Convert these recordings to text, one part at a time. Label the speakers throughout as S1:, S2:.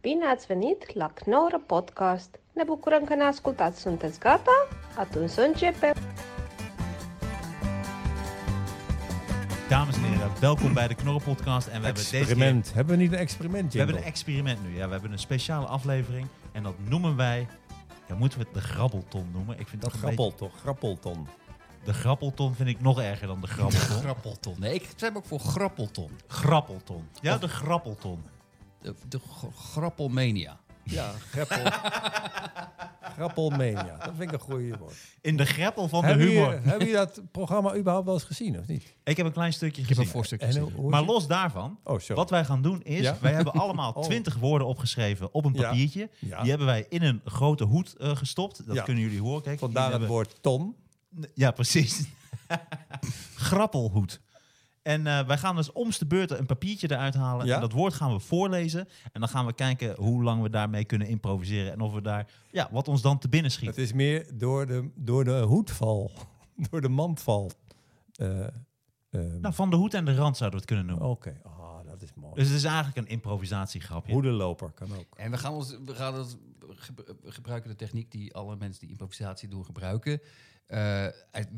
S1: Bine ați venit la Knorr Podcast! Ne bucurăm că ne ascultați! Sunteți gata? Atunci să începem!
S2: Dames en heren, welkom bij de Knorren Podcast. En we hebben deze keer,
S3: Experiment. Hebben we niet een experiment,
S2: we hebben een experiment nu. Ja, we hebben een speciale aflevering en dat noemen wij. Ja, moeten we het de grabbelton noemen? Ik vind dat een
S3: Grappelton. Grappelton.
S2: beetje- de grabbelton vind ik nog erger dan de grabbelton.
S4: Grappelton. Nee, ik heb ook voor grappelton.
S2: grappelton. Ja, de grappelton.
S4: De, de gr- grappelmania.
S3: Ja, grappel. Grappelmania. Dat vind ik een goede woord.
S2: In de greppel van
S3: Hebben
S2: de humor.
S3: jullie, hebben jullie dat programma überhaupt wel eens gezien, of niet?
S2: Ik heb een klein stukje
S4: Ik heb een
S2: gezien.
S4: voorstukje
S3: En hoe-
S4: gezien.
S3: hoe is
S2: Maar
S3: het?
S2: los daarvan,
S3: Oh, sorry.
S2: wat wij gaan doen is,
S3: Ja?
S2: wij hebben allemaal
S3: Oh.
S2: twintig woorden opgeschreven op een
S3: Ja.
S2: papiertje.
S3: Ja.
S2: Die hebben wij in een grote hoed eh, gestopt. Dat
S3: Ja.
S2: kunnen jullie horen. Kijk,
S3: Vandaar
S2: hier
S3: het
S2: hebben-
S3: woord ton.
S2: Ja, precies. Grappelhoed. En eh, wij gaan dus omste de beurt een papiertje eruit halen.
S3: Ja?
S2: En dat woord gaan we voorlezen. En dan gaan we kijken hoe lang we daarmee kunnen improviseren. En of we daar, ja, wat ons dan te binnen schiet.
S3: Het is meer door de, door de hoedval. Door de mandval. Eh, ehm,
S2: Nou, van de hoed en de rand zouden we het kunnen noemen.
S3: Oké, ah, dat is mooi.
S2: Dus het is eigenlijk een improvisatiegrapje.
S3: Hoedenloper kan ook.
S4: En we gaan, ons, we gaan ons, ge- gebruiken de techniek die alle mensen die improvisatie doen gebruiken. Eh,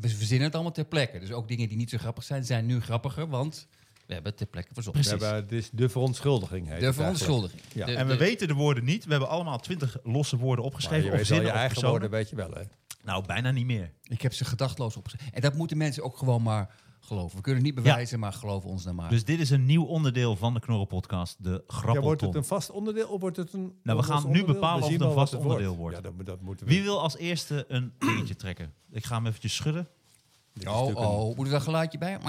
S4: we verzinnen het allemaal ter plekke. Dus ook dingen die niet zo grappig zijn, zijn nu grappiger, want we hebben het ter plekke verzonnen.
S3: We
S2: Precies.
S3: hebben, het is de verontschuldiging. Heet
S4: De
S3: het eigenlijk.
S4: verontschuldiging.
S3: Ja.
S4: De-
S2: En we
S4: de-
S2: weten de woorden niet. We hebben allemaal twintig losse woorden
S3: Maar je
S2: opgeschreven. Of
S3: weet wel je
S2: zinnen of
S3: eigen
S2: personen.
S3: woorden, weet je wel, hè?
S2: Nou, bijna niet meer.
S4: Ik heb ze gedachtloos opgezet. En dat moeten mensen ook gewoon maar geloven. We kunnen het niet bewijzen, maar geloven ons dan maar.
S2: Dus dit is een nieuw onderdeel van de Knorren Podcast. De
S3: Ja, wordt het
S2: grappelton.
S3: een vast onderdeel of wordt het een...
S2: Nou, we gaan
S3: los
S2: nu
S3: onderdeel?
S2: bepalen
S3: We
S2: of
S3: zien
S2: het een
S3: wel wat
S2: vast onderdeel wordt.
S3: Ja, dat, dat moeten we...
S2: Wie wil als eerste een dingetje trekken? Ik ga hem eventjes schudden.
S3: Dit is
S4: oh,
S3: natuurlijk een-
S4: oh, moet er dat geluidje bij?
S3: Dit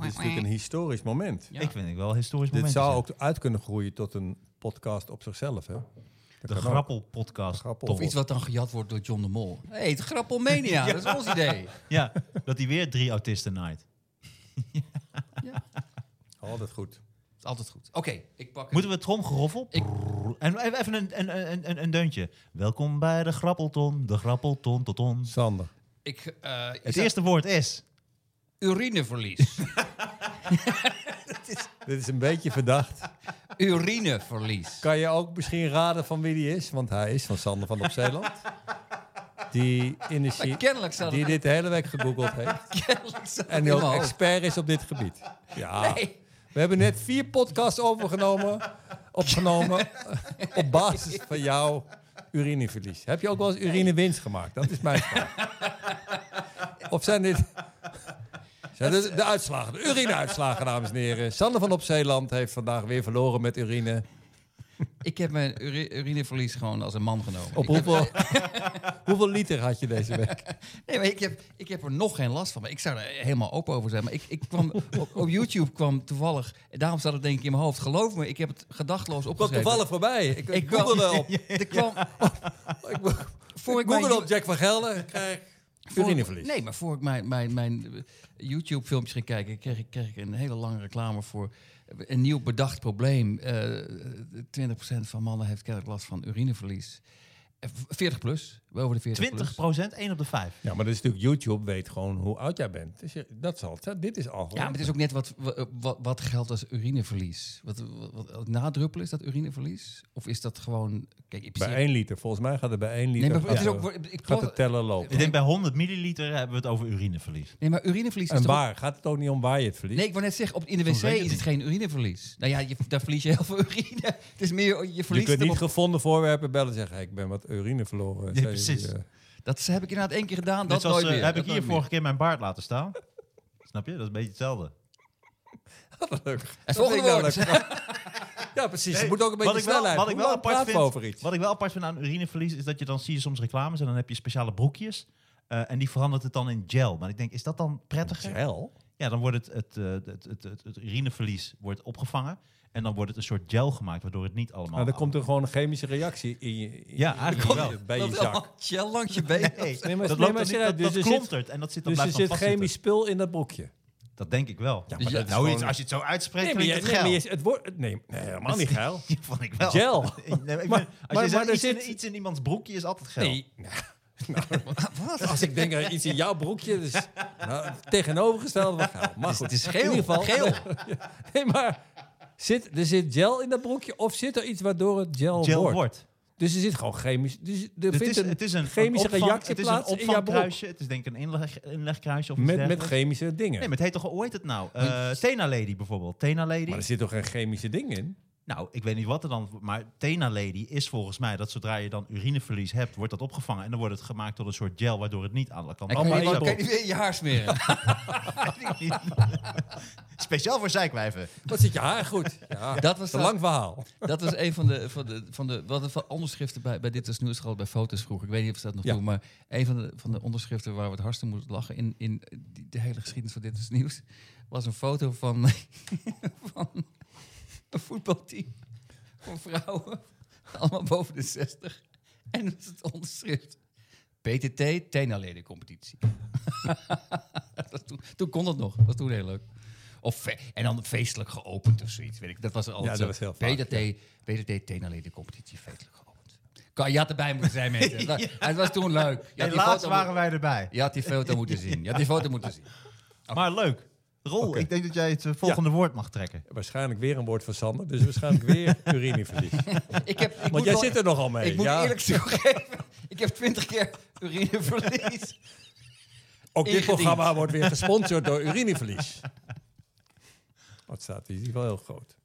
S3: is natuurlijk een historisch moment.
S4: Ja.
S2: Ik vind het wel een historisch
S3: Dit
S2: moment.
S3: zou ook uit kunnen groeien tot een podcast op zichzelf, hè? Dat
S2: De
S3: kan ook.
S2: grappelpodcast.
S3: De grappel.
S2: Top.
S4: Of iets wat dan gejat wordt door John de Mol. Hé, hey, het grappelmania, dat is ons idee.
S2: Ja, dat hij weer drie autisten naait.
S3: Altijd goed.
S4: is altijd goed. Oké, ik pak
S2: Moeten we tromgeroffel? Brrr. En even even een, een, een, een, een deuntje. Welkom bij de grappelton, de grappelton tot ons.
S3: Sander.
S4: Ik, eh, is
S2: Het
S4: dat
S2: eerste woord is...
S4: urineverlies.
S3: Dit is een beetje verdacht.
S4: urineverlies.
S3: Kan je ook misschien raden van wie die is? Want hij is van Sander van op Zeeland. Die,
S4: Maar
S3: initiële
S4: kennelijk staat
S3: die
S4: het
S3: dit de hele week gegoogeld heeft.
S4: kennelijk staat het
S3: En
S4: in
S3: die ook
S4: mijn hoofd.
S3: expert is op dit gebied. Ja.
S4: Nee.
S3: We hebben net vier podcasts overgenomen, opgenomen op basis van jouw urineverlies. Heb je ook wel eens urinewinst gemaakt? Dat is mijn vraag. Of zijn dit zijn dit de uitslagen, de urineuitslagen, dames en heren? Sander van op Zeeland heeft vandaag weer verloren met urine.
S4: Ik heb mijn uri- urineverlies gewoon als een man genomen.
S3: Op
S4: Ik heb-
S3: hoeveel, hoeveel liter had je deze week?
S4: nee, maar ik, heb, ik heb er nog geen last van. Maar ik zou er helemaal open over zijn. Maar ik, ik kwam, op, op YouTube kwam toevallig... en Daarom staat het denk ik in mijn hoofd. Geloof me, ik heb het gedachtloos
S3: kwam
S4: opgeschreven.
S3: toevallig voorbij. Ik,
S4: Ik
S3: ik googelde
S4: kwam-
S3: op.
S4: Er kwam,
S3: Ik
S4: voor ik mijn
S3: googelde
S4: Ju-
S3: op Jack van Gelder. Ik krijg
S4: Voor ik-
S3: urineverlies.
S4: nee, maar voor ik mijn, mijn, mijn eh, YouTube-filmpjes ging kijken, kreeg ik, kreeg ik een hele lange reclame voor een nieuw bedacht probleem. Eh 20% van mannen heeft kennelijk last van urineverlies. Eh, 40 plus, wel over de 40
S2: 20
S4: plus.
S2: procent, 1 op de 5.
S3: Ja, maar dat is natuurlijk YouTube weet gewoon hoe oud jij bent. Dus je- dat zal het. Dit is al.
S4: Ja, maar het is ook net wat, wa- wat, wat geldt als urineverlies. Wat, wat, wat- nadruppelen, is dat urineverlies? Of is dat gewoon... Kijk, in
S3: bij
S4: principe-
S3: 1 liter. Volgens mij gaat het bij 1 liter.
S4: nee, maar het is
S3: gaat,
S4: ook...
S3: de-
S4: Ik, ik,
S3: gaat de teller lopen.
S2: Ik denk bij 100 milliliter hebben we het over urineverlies.
S4: nee, maar urineverlies is
S3: En
S4: toch ook-
S3: waar? Gaat het ook niet om waar je het verliest?
S4: Nee, ik wou net zeggen, op, in de wc
S2: Soms weet je
S4: is
S2: het
S4: het geen urineverlies. Nou ja, je, daar verlies je heel veel urine. Het is meer, je
S3: je
S4: verliest
S3: kunt
S4: hem
S3: niet
S4: op-
S3: gevonden voorwerpen bellen en zeggen... "Hey, ik ben wat urine verloren. Zei die,
S2: precies.
S3: eh,
S4: Dat heb ik inderdaad één keer gedaan,
S2: Net
S4: dat
S2: zoals
S4: nooit
S2: eh,
S4: meer.
S2: heb
S4: dat
S2: ik hier
S4: nooit meer.
S2: vorige keer mijn baard laten staan. Snap je? Dat is een beetje hetzelfde.
S3: leuk. Dat
S4: Het
S3: vind
S4: volgende
S3: ik wel
S4: woord.
S3: leuk. Ja, precies. je Dus moet ook een beetje
S2: wat ik wel,
S3: snelheid.
S2: wat
S3: Hoe
S2: ik wel
S3: lang
S2: apart
S3: praten
S2: vind,
S3: we over iets?
S2: Wat ik wel apart vind aan urineverlies is dat je dan zie je soms reclames en dan heb je speciale broekjes. eh, en die verandert het dan in gel. Maar ik denk, is dat dan prettiger?
S3: Gel?
S2: Ja, dan wordt het, het, eh, het, het, het, het urineverlies wordt opgevangen. En dan wordt het een soort gel gemaakt, waardoor het niet allemaal...
S3: Nou, dan komt er gewoon een chemische reactie in je, in-
S2: Ja,
S3: in-
S2: eigenlijk
S3: in-
S2: wel.
S3: bij je
S4: Dat
S3: zak.
S4: allemaal gel langs je been.
S2: Nee,
S3: Nee, maar-
S2: dat
S3: nee,
S2: loopt
S3: maar
S2: dan niet-
S3: serieus,
S2: dat, dat
S3: dus er
S2: klontert en dat zit dan
S3: Dus er
S2: blijft
S3: zit
S2: dan
S3: chemisch
S2: chemisch...
S3: spul in dat broekje.
S2: Dat denk ik wel. Dus
S3: maar dat
S2: je-
S3: is
S2: nou,
S3: gewoon-
S2: als je het zo uitspreekt,
S3: Nee, maar
S2: vind
S3: je,
S2: ik het geil.
S3: nee, maar je- het wordt... Nee, nee, helemaal niet geil.
S2: Ja, vond ik wel.
S3: Gel.
S2: Nee, maar ik
S3: Maar-
S2: vind- als
S3: maar-
S2: je
S3: maar
S2: zegt,
S3: er
S2: iets, in,
S3: zit-
S2: iets in iemands broekje is altijd gel.
S3: Nee. Als ik denk aan iets in jouw broekje, dus nou, tegenovergestelde van geil. Maar goed,
S4: Het is
S3: in
S4: geel.
S3: ieder geval.
S4: Geel.
S3: Nee, maar Zit, er zit gel in dat broekje of zit er iets waardoor het gel,
S2: Gel
S3: wordt?
S2: wordt.
S3: Dus er zit gewoon chemisch. Dus er
S2: Het
S3: vindt
S2: is,
S3: een,
S2: het is een
S3: chemische
S2: een opvang-
S3: reactie
S2: Het is een
S3: plaats in jouw broek.
S2: opvangkruisje. Het is denk ik een inleg, inlegkruisje of iets
S3: Met, met
S2: dergelijks.
S3: chemische dingen.
S2: Nee, maar het heet toch, hoe heet het nou? Eh Tena Lady bijvoorbeeld. Tena Lady.
S3: maar er zit toch geen chemische ding in?
S2: Nou, ik weet niet wat er dan... Maar Tena Lady is volgens mij dat zodra je dan urineverlies hebt, wordt dat opgevangen. En dan wordt het gemaakt tot een soort gel, waardoor het niet aan kan. Oh,
S4: En kan
S2: Allemaal
S4: je,
S2: in
S4: wel-
S2: jouw
S4: kan je
S2: broek.
S4: niet weer in je haar smeren?
S2: Speciaal voor zijkwijven.
S3: Wat zit je haar goed? Ja,
S4: Dat was
S3: een lang verhaal.
S4: Dat was een van de, van de, van de wat een onderschriften bij, bij dit is nieuws gehad bij foto's vroeger. Ik weet niet of ze dat nog
S3: Ja.
S4: doen, maar een van de, van de onderschriften waar we het hardste moesten lachen in, in die- de hele geschiedenis van dit is nieuws was een foto van, van een voetbalteam van vrouwen, allemaal boven de 60. En dat is het onderschrift. PTT, Tena-ledencompetitie. Dat was toen, toen kon dat nog. Dat was toen heel leuk. Of fe- en dan feestelijk geopend of zoiets. Weet ik. Dat was er altijd
S3: Ja, dat
S4: zo.
S3: was heel vaak,
S4: PTT, PTT, Tena-ledencompetitie, feestelijk geopend. Kan, je had erbij moeten zijn, mensen. Het was- Het was toen leuk. Je had, die
S2: Helaas
S4: foto,
S2: waren
S4: moet-
S2: wij erbij.
S4: je had die foto moeten zien. Je had die foto moeten zien.
S2: Maar leuk. Rol,
S3: Oké.
S2: ik denk dat jij het eh, volgende woord mag trekken.
S3: Waarschijnlijk weer een woord van Sander. Dus waarschijnlijk weer urineverlies.
S4: Ik heb, ik moet
S3: Want jij
S4: wel-
S3: zit er nogal mee.
S4: Ik moet
S3: ja.
S4: eerlijk toegeven, ik heb twintig keer urineverlies.
S3: Ook dit
S4: ingediend.
S3: programma wordt weer gesponsord door urineverlies. Wat staat hier? Die is wel heel groot.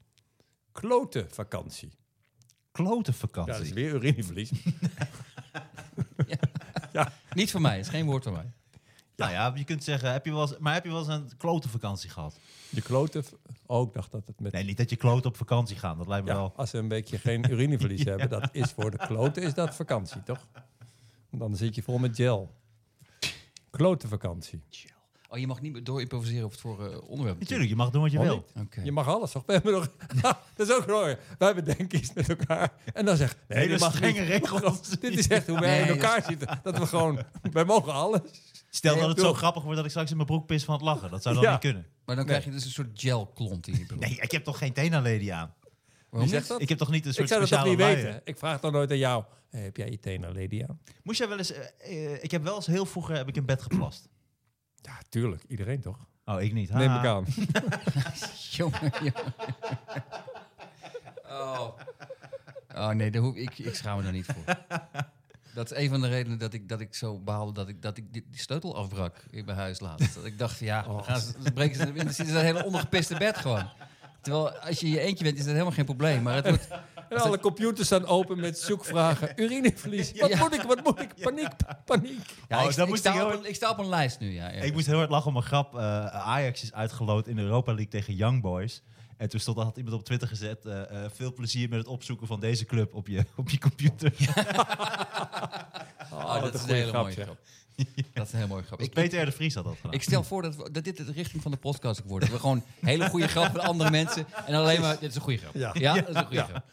S3: Klote vakantie.
S2: Klote
S3: Ja, dat is
S2: vakantie.
S3: weer urineverlies.
S4: Niet van mij, is geen woord van mij.
S2: nou ja, je kunt zeggen, heb je wel eens, maar heb je wel eens een klote vakantie gehad?
S3: De klote... v- Oh, ik dacht dat het met...
S2: Nee, niet dat je klote op vakantie gaat. Dat lijkt me
S3: Ja,
S2: wel.
S3: als ze een beetje geen urineverlies hebben, dat is voor de kloten, is dat vakantie, toch? Want dan zit je vol met gel. Klote vakantie.
S4: Oh, je mag niet meer door improviseren op het vorige eh, onderwerp.
S2: Natuurlijk, je mag doen wat je
S3: Oh,
S2: wil.
S3: niet?
S4: Oké.
S3: Je mag alles, toch? We hebben nog... dat is ook mooi. Wij bedenken iets met elkaar. En dan zegt... Nee,
S2: Hele
S3: dat mag
S2: strenge
S3: niet.
S2: regels.
S3: Dit is echt hoe wij
S4: Nee,
S3: in elkaar zitten. Dat we gewoon... Wij mogen alles.
S2: Stel
S3: Nee,
S2: dat het zo
S3: doe.
S2: grappig wordt dat ik straks in mijn broek pis van het lachen. Dat zou dan
S3: Ja.
S2: niet kunnen.
S4: Maar dan krijg je dus een soort gelklont in je broek.
S2: Nee, ik heb toch geen tena lady aan?
S4: Waarom
S3: zegt
S4: niet?
S3: dat?
S2: Ik heb toch niet een
S3: Ik
S2: soort
S3: zou dat toch
S2: speciale
S3: niet
S2: luier?
S3: weten. Ik vraag dan nooit aan jou. Hey, heb jij je tenen lady aan?
S2: Moest jij wel eens... eh, eh, ik heb wel eens heel vroeger heb ik in bed geplast.
S3: Ja, tuurlijk. Iedereen toch?
S2: Oh, ik niet. Ha.
S3: Neem ik aan.
S4: Jongen, jongen. Oh. oh, nee, daar hoef ik, ik schaam me daar niet voor. Dat is een van de redenen dat ik, dat ik zo baalde dat ik, dat ik die, die sleutel afbrak in mijn huis laatst. Dat ik dacht, van, ja, gaan ze, dan breken ze in, dan zitten ze dat hele ondergepiste bed gewoon. Terwijl als je in je eentje bent, is dat helemaal geen probleem. Maar het wordt,
S3: En alle computers staan open met zoekvragen. Urineverlies. Wat
S4: Ja.
S3: moet ik? Wat moet ik? Paniek, paniek.
S4: ja,
S2: Oh,
S4: ik,
S2: dat
S4: ik
S2: moet
S4: sta
S2: ik
S4: op
S2: ook-
S4: een, ik sta op een lijst nu. Ja, ergens.
S2: Ik moest heel hard lachen om een grap. Eh, Ajax is uitgeloot in de Europa League tegen Young Boys. En toen stond, had iemand op Twitter gezet... eh, eh, veel plezier met het opzoeken van deze club op je, op je computer.
S4: Oh, dat
S3: een
S4: is een
S3: goeie
S4: hele
S3: grap,
S4: mooie
S3: zeg.
S4: grap. Dat is een heel mooie grap. Ik,
S2: Peter R. de Vries had dat gedaan.
S4: ik stel voor dat, we- dat dit de richting van de podcast wordt. Dat we gewoon hele goede grappen van andere mensen. En alleen maar, dit is een goede grap. Ja,
S3: Ja.
S4: dat is een goede grap.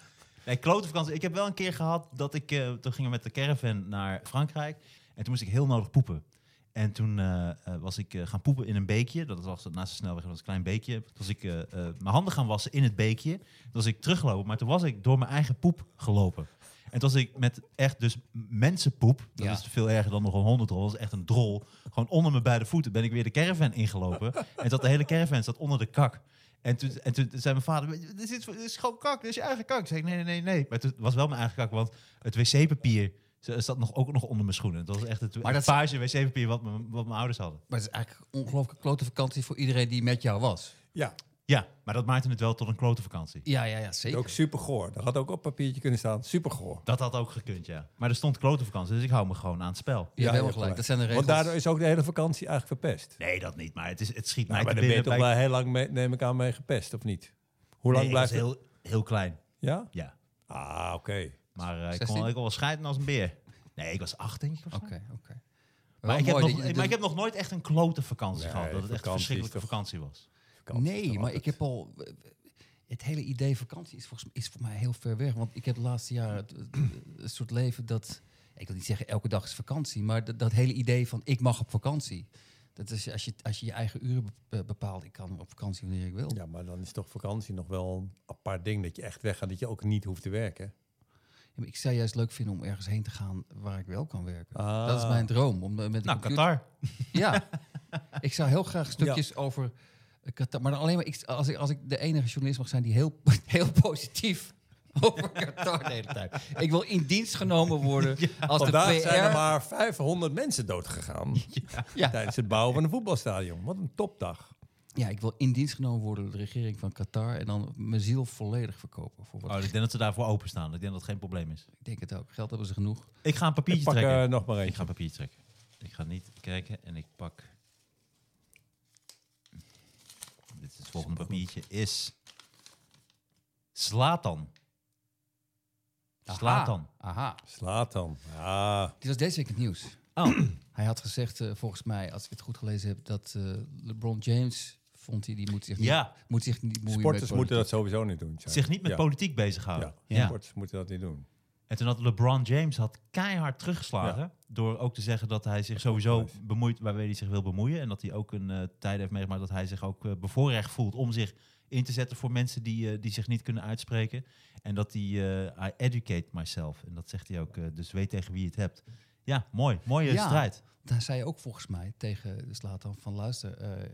S2: Nee, klote vakantie. Ik heb wel een keer gehad dat ik... eh, toen gingen we met de caravan naar Frankrijk. En toen moest ik heel nodig poepen. En toen eh, eh, was ik eh, gaan poepen in een beekje. Dat was naast de snelweg, dat was een klein beekje. Toen was ik eh, eh, mijn handen gaan wassen in het beekje. Toen was ik teruggelopen, maar toen was ik door mijn eigen poep gelopen. En toen was ik met echt dus mensenpoep, dat
S4: Ja.
S2: is veel erger dan nog een hondendrol, dat is echt een drol. Gewoon onder mijn beide voeten ben ik weer de caravan ingelopen. en dat de hele caravan zat onder de kak. En toen, en toen zei mijn vader, dit is, dit is gewoon kak, dit is je eigen kak. Ik zei, nee, nee, nee, nee. Maar het was wel mijn eigen kak, want het wc-papier z- zat nog, ook nog onder mijn schoenen. Dat was echt het
S4: Maar
S2: maar
S4: dat-
S2: page wc-papier wat, mijn- wat mijn ouders hadden.
S4: Maar het is eigenlijk een ongelooflijke klote vakantie voor iedereen die met jou was.
S3: Ja,
S2: Ja, maar dat maakte het wel tot een klote vakantie.
S4: Ja, ja, ja, zeker.
S3: ook supergoor. Dat had ook op papiertje kunnen staan. Supergoor.
S2: Dat had ook gekund, ja. Maar er stond klote vakantie, dus ik hou me gewoon aan het spel.
S4: Je hebt helemaal gelijk. Dat zijn de regels.
S3: Want daardoor is ook de hele vakantie eigenlijk verpest.
S2: Nee, dat niet, maar het, is, het schiet mij
S3: Nou, maar
S2: te
S3: daar ben je
S2: binnen.
S3: toch
S2: bij-
S3: wel heel lang, mee, neem ik aan, mee gepest, of niet? Hoe lang
S2: Nee, ik was
S3: blijft het?
S2: heel, heel klein,
S3: Ja?
S2: ja.
S3: Ah, oké.
S2: Maar eh, ik, kon,
S4: 16?
S2: ik kon wel scheiden als een beer. Nee, ik was acht, denk ik. Of zo.
S4: Oké, oké.
S2: Maar,
S4: Wel
S2: ik heb
S4: mooi
S2: nog,
S4: dat je-
S2: maar ik heb nog nooit echt een klote vakantie
S3: Nee,
S2: gehad. Dat het echt een
S3: vakantie is
S2: verschrikkelijke
S3: toch-
S2: vakantie was.
S3: Vakantie is
S4: Nee,
S3: toch
S4: maar
S3: altijd-
S4: ik heb al... Het hele idee vakantie is, volgens, is voor mij heel ver weg. Want ik heb de laatste jaren het- het- een soort leven dat... Ik wil niet zeggen elke dag is vakantie, maar dat, dat hele idee van ik mag op vakantie. Dat is als je als je, je eigen uren be- bepaalt. Ik kan op vakantie wanneer ik wil.
S3: Ja, maar dan is toch vakantie nog wel een apart ding dat je echt weggaat, dat je ook niet hoeft te werken.
S4: Ja, maar Ik zou juist leuk vinden om ergens heen te gaan waar ik wel kan werken.
S3: Ah.
S4: Dat is mijn droom. Om eh, met de
S2: Nou,
S4: computer-
S2: Qatar.
S4: Ja. ik zou heel graag stukjes over Ik had dat- maar dan alleen maar, ik, als, ik, als ik de enige journalist mag zijn die heel, heel positief over Qatar de hele tijd. Ik wil in dienst genomen worden als de
S3: Vandaag zijn er
S4: PR.
S3: maar 500 mensen doodgegaan
S4: Ja,
S3: tijdens het bouwen van een voetbalstadion. Wat een topdag.
S4: ja, ik wil in dienst genomen worden door de regering van Qatar en dan mijn ziel volledig verkopen. Voor wat
S2: Oh,
S3: dus-
S2: ik denk dat ze daarvoor openstaan. Ik denk dat het geen probleem is.
S4: Ik denk het ook. Geld hebben ze genoeg.
S2: Ik ga een
S3: Ik
S2: papiertje
S3: pak
S2: trekken.
S3: eh, nog maar
S2: ik
S3: eentje.
S2: ga een papiertje trekken. Ik ga niet kijken en ik pak... Dit is het volgende papiertje is... Slatan. Slatan.
S4: Aha.
S3: Slaat dan. Ja,
S4: Dit was deze week in het nieuws.
S2: Oh.
S4: Hij had gezegd, eh, volgens mij, als ik het goed gelezen heb, dat eh, LeBron James vond hij die moet zich niet,
S2: Ja.
S4: moet zich niet moeien
S3: sporters
S4: met
S3: moeten dat
S4: politiek.
S3: sowieso niet doen. Sjaak.
S2: Zich niet met
S3: Ja,
S2: politiek bezighouden.
S3: Ja,
S2: Ja.
S3: sporters moeten dat niet doen.
S2: En toen had LeBron James had keihard teruggeslagen. Door ook te zeggen dat hij zich sowieso
S3: geweest.
S2: bemoeit waarmee hij zich wil bemoeien. En dat hij ook een eh tijd heeft meegemaakt dat hij zich ook eh, bevoorrecht voelt om zich in te zetten voor mensen die, eh, die zich niet kunnen uitspreken. En dat hij, eh, I educate myself. En dat zegt hij ook, eh, dus weet tegen wie je het hebt. Ja, mooi. Mooie
S4: Ja.
S2: strijd.
S4: Daar zei hij ook volgens mij tegen Slatan van, luister, eh,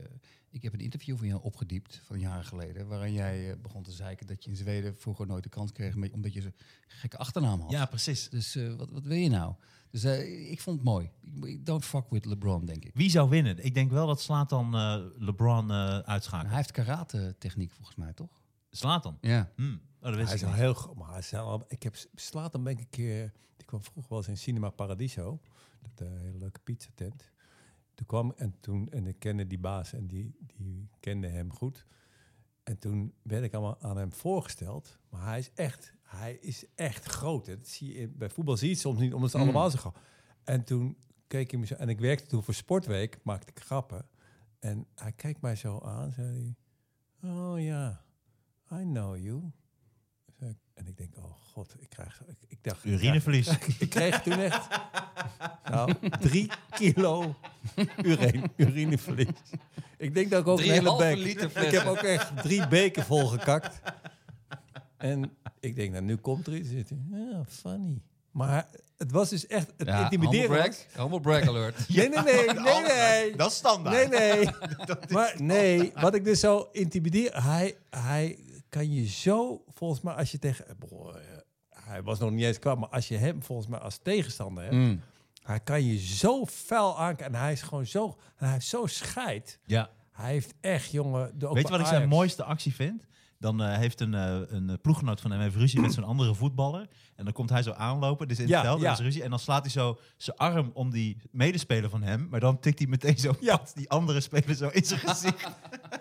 S4: ik heb een interview van jou opgediept van jaren geleden, waarin jij eh, begon te zeiken dat je in Zweden vroeger nooit de kans kreeg, met- omdat je zo'n gekke achternaam had.
S2: Ja, precies.
S4: Dus eh, wat, wat wil je nou? Dus eh, ik vond het mooi. Ik- Don't fuck with LeBron, denk ik.
S2: Wie zou winnen? Ik denk wel dat Slatan dan LeBron eh
S4: Maar
S2: uitschakelt.
S4: Hij heeft karate techniek volgens mij, toch?
S2: Slatan.
S4: Ja.
S2: Hm. Oh, dat wist
S3: Hij
S2: ik
S3: is al
S2: niet.
S3: heel goed. Maar hij is al- ik heb slaat dan ben ik een keer. Ik kwam vroeger wel eens in Cinema Paradiso. Dat eh, hele leuke pizza tent. Toen kwam en toen en ik kende die baas en die, die kende hem goed. En toen werd ik allemaal aan hem voorgesteld. Maar hij is echt, hij is echt groot. hè. Dat zie je, in- bij voetbal zie je het soms niet, omdat ze
S4: Mm.
S3: allemaal zo groot. En toen keek hij me zo. En ik werkte toen voor Sportweek, maakte ik grappen. En hij kijkt mij zo aan, zei hij. Oh ja, I know you. Zei ik- En ik denk, oh god, ik krijg... Ik, ik dacht, ik krijg-
S2: Urineverlies.
S3: ik kreeg toen echt nou, drie kilo urine, urineverlies. Ik denk dat ik ook een hele
S4: halve
S3: beker...
S4: liter
S3: ik
S4: flessen.
S3: heb ook echt drie beken vol gekakt. En ik denk, nou, nu komt er iets. zitten. Ja, funny. Maar het was dus echt... Het
S4: Ja, humble
S3: intimideren was-
S4: brag, humble brag alert.
S3: Nee, nee, nee, nee, nee.
S2: Dat is standaard.
S3: Nee, nee. maar nee, wat ik dus zo intimideer... Hij, hij kan je zo, volgens mij, als je tegen... Broer, eh, hij was nog niet eens klaar, maar als je hem volgens mij als tegenstander hebt...
S4: Mm.
S3: Hij kan je zo fel aankijken. En hij is gewoon zo... en hij is zo scheid.
S2: Ja.
S3: Hij heeft echt, jongen... de- ook
S2: Weet je
S3: bij
S2: wat ik zijn
S3: Ajax.
S2: mooiste actie vind? Dan eh, heeft een, eh, een eh, ploeggenoot van hem heeft ruzie met zo'n andere voetballer. En dan komt hij zo aanlopen, dus in het
S3: Ja,
S2: veld,
S3: ja.
S2: er is ruzie. En dan slaat hij zo zijn arm om die medespeler van hem. Maar dan tikt hij meteen zo
S3: Ja.
S2: pat die andere speler zo in zijn gezicht.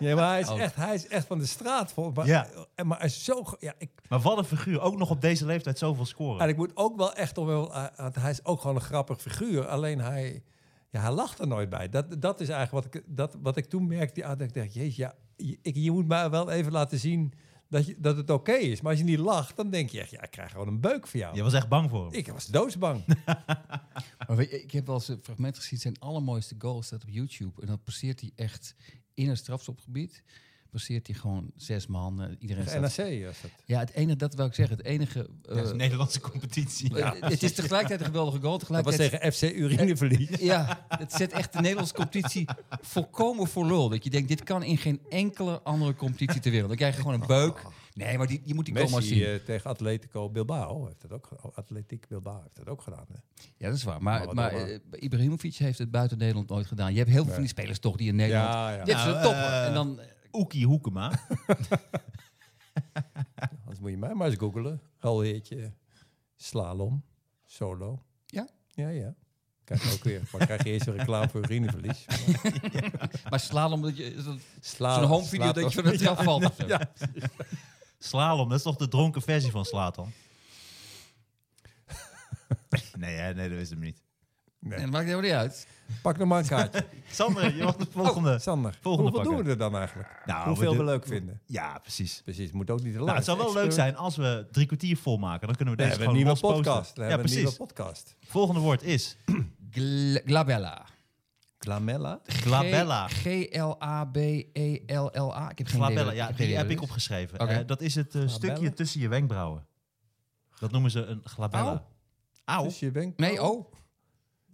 S3: Ja, maar hij is,
S4: Oh.
S3: echt, hij is echt van de straat, volgens mij.
S2: Ja.
S3: En, maar hij is zo... ge- Ja, ik,
S2: maar wat een figuur, ook nog op deze leeftijd zoveel
S3: en
S2: scoren.
S3: ik moet ook wel echt... om hem- eh, Want hij is ook gewoon een grappig figuur. Alleen hij... Ja, hij lacht er nooit bij. Dat, dat is eigenlijk wat ik, dat, wat ik toen merkte. Ja, dat ik dacht, jezus, ja, je, ik, je moet mij wel even laten zien dat, je, dat het oké is. Maar als je niet lacht, dan denk je echt... Ja, ik krijg gewoon een beuk van jou.
S2: Je was echt bang voor hem.
S3: Ik was doodsbang.
S4: Maar weet je, ik heb wel eens een fragment gezien. Zijn allermooiste goal staat op YouTube. En dan passeert hij echt in een strafschopgebied. Passeert hij gewoon zes man. eh, Iedereen staat...
S3: NAC was dat.
S4: Ja, het enige, dat wil ik zeggen. Het enige... eh,
S2: Ja, dat is een Nederlandse competitie.
S4: eh, Het is tegelijkertijd een geweldige goal.
S3: Dat was
S4: Tegelijkertijd...
S3: tegen FC Urineverlies.
S4: Ja, het zet echt de Nederlandse competitie volkomen voor lul. Dat je denkt, dit kan in geen enkele andere competitie ter wereld. Dan krijg je gewoon een beuk. Nee, maar die, je moet die goal maar zien.
S3: Oh. Messi eh, tegen Atletico Bilbao heeft dat ook gedaan. Atletiek Bilbao heeft dat ook gedaan. Hè?
S4: Ja, dat is waar.
S3: Maar
S4: Maar,
S3: wat
S4: maar
S3: dan,
S4: eh, Ibrahimovic heeft het buiten Nederland nooit gedaan. Je hebt heel veel van die spelers toch die in Nederland...
S3: Ja, ja.
S4: Dit is
S2: Nou,
S4: een topper.
S2: eh,
S4: en dan...
S2: Oekie Hoekema.
S3: Anders moet je mij maar eens googelen. Alweertje slalom, solo.
S4: Ja?
S3: Ja, ja. Kijk ook weer. Maar krijg je eerst een reclame voor urineverlies.
S4: Maar slalom, dat je, dat-
S3: Sla,
S4: zo'n home video
S3: slaat
S4: dat je
S3: op-
S4: van het trap valt. of zo.
S3: Ah, Ja.
S2: Slalom, dat is toch de dronken versie van Slatan? nee, hè? nee, dat is hem niet.
S4: En dat maakt helemaal niet uit.
S3: Pak nog maar een kaartje.
S2: Sander, je mag de volgende.
S3: Sander,
S2: Volgende
S3: hoeveel
S2: pakken.
S3: doen we er dan eigenlijk?
S2: Nou,
S3: hoeveel
S2: we
S3: we,
S2: doen-
S3: leuk vinden.
S2: Ja, precies.
S3: Precies, moet ook niet te lang.
S2: Nou, het zou wel leuk zijn als we drie kwartier volmaken. Dan kunnen we
S3: We
S2: deze
S3: hebben een
S2: gewoon
S3: nieuwe
S2: losposten.
S3: podcast. We
S2: Ja,
S3: hebben een nieuwe
S2: precies.
S3: podcast.
S2: Volgende woord is
S4: Gl- glabella.
S3: Glamella.
S2: glabella.
S4: G- G-L-A-B-E-L-L-A. Ik heb geen idee
S2: Glabella,
S4: wat-
S2: ja,
S4: ik heb geen idee
S2: die heb ik
S4: wat het
S2: opgeschreven.
S4: Oké.
S2: Eh, dat is het eh, stukje tussen je wenkbrauwen. Dat noemen ze een
S4: Au.
S2: glabella. Auw.
S3: Dus je wenkbrauw.
S4: is. Nee, oh.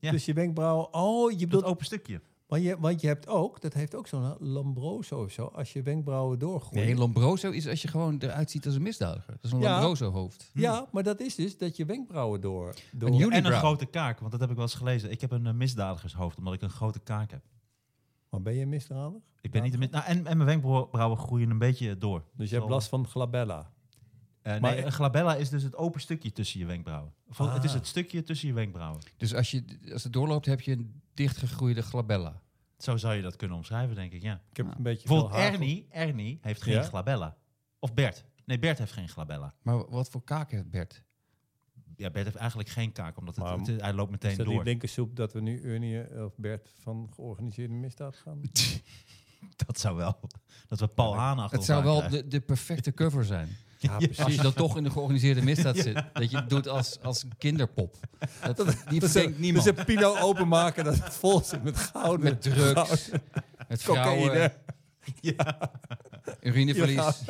S2: Ja.
S3: Dus je wenkbrauw. Oh, je
S2: Dat
S3: bedoelt
S2: open stukje.
S3: Want je, want je hebt ook, dat heeft ook zo'n lambroso of zo, als je wenkbrauwen doorgroeien.
S4: Nee, Lombroso is als je gewoon eruit ziet als een misdadiger. Dat is een
S3: Ja.
S4: Lombroso-hoofd.
S3: Ja, maar dat is dus dat je wenkbrauwen door... door
S4: Een
S2: En een
S4: unibrow.
S2: grote kaak, want dat heb ik wel eens gelezen. Ik heb een eh, misdadigershoofd, omdat ik een grote kaak heb.
S3: maar ben je een misdrader?
S2: Ik ben niet een mis- nou, en, en mijn wenkbrauwen groeien een beetje door.
S3: Dus je hebt
S2: Zo.
S3: last van glabella.
S2: Eh,
S3: Maar-
S2: nee, een glabella is dus het open stukje tussen je wenkbrauwen. Of,
S3: Ah.
S2: Het is het stukje tussen je wenkbrauwen.
S4: Dus als, je, als het doorloopt, heb je een dichtgegroeide glabella.
S2: Zo zou je dat kunnen omschrijven, denk ik, ja.
S3: Ik heb
S4: Nou,
S3: een beetje veel
S2: Bijvoorbeeld
S3: haar.
S2: Ernie, Ernie heeft geen
S3: Ja?
S2: glabella. Of Bert. Nee, Bert heeft geen glabella.
S4: Maar wat voor kaak heeft Bert?
S2: Ja, Bert heeft eigenlijk geen kaak, omdat het,
S3: Maar-
S2: het- hij loopt meteen
S3: Is dat die
S2: door.
S3: linkersoep dat we nu Ernie eh, of Bert van georganiseerde misdaad gaan?
S2: Dat zou wel. Dat we Paul Haan achter
S4: Het zou
S2: elkaar
S4: wel
S2: krijgen.
S4: de, de perfecte cover zijn.
S3: Ja,
S4: Als je dan toch in de georganiseerde misdaad zit. Dat je het doet als, als kinderpop. Dat, die
S3: Dus een,
S4: verdenkt niemand.
S3: Dus een pino openmaken dat het vol zit met goud.
S4: met drugs, met vrouwen,
S3: cocaïne.
S4: urineverlies.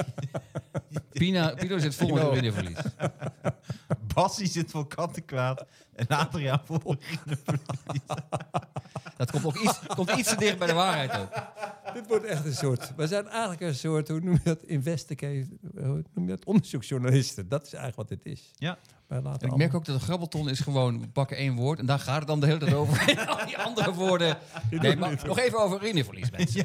S4: Pina, Pino zit vol met
S3: Pino.
S4: urineverlies.
S2: Bassie zit voor katten kwaad. En Adriaan voor...
S4: Dat komt nog iets, komt iets te dicht bij de waarheid ook.
S3: Dit wordt echt een soort... We zijn eigenlijk een soort, hoe noem je dat, investigative... Hoe noem je dat, onderzoeksjournalisten. Dat is eigenlijk wat dit is.
S2: Ja.
S3: Wij laten
S4: Ik merk ook dat een grabbelton is gewoon, we pakken één woord en daar gaat het dan de hele tijd over. En al die andere woorden. Nee, maar nog even over urineverlies, mensen.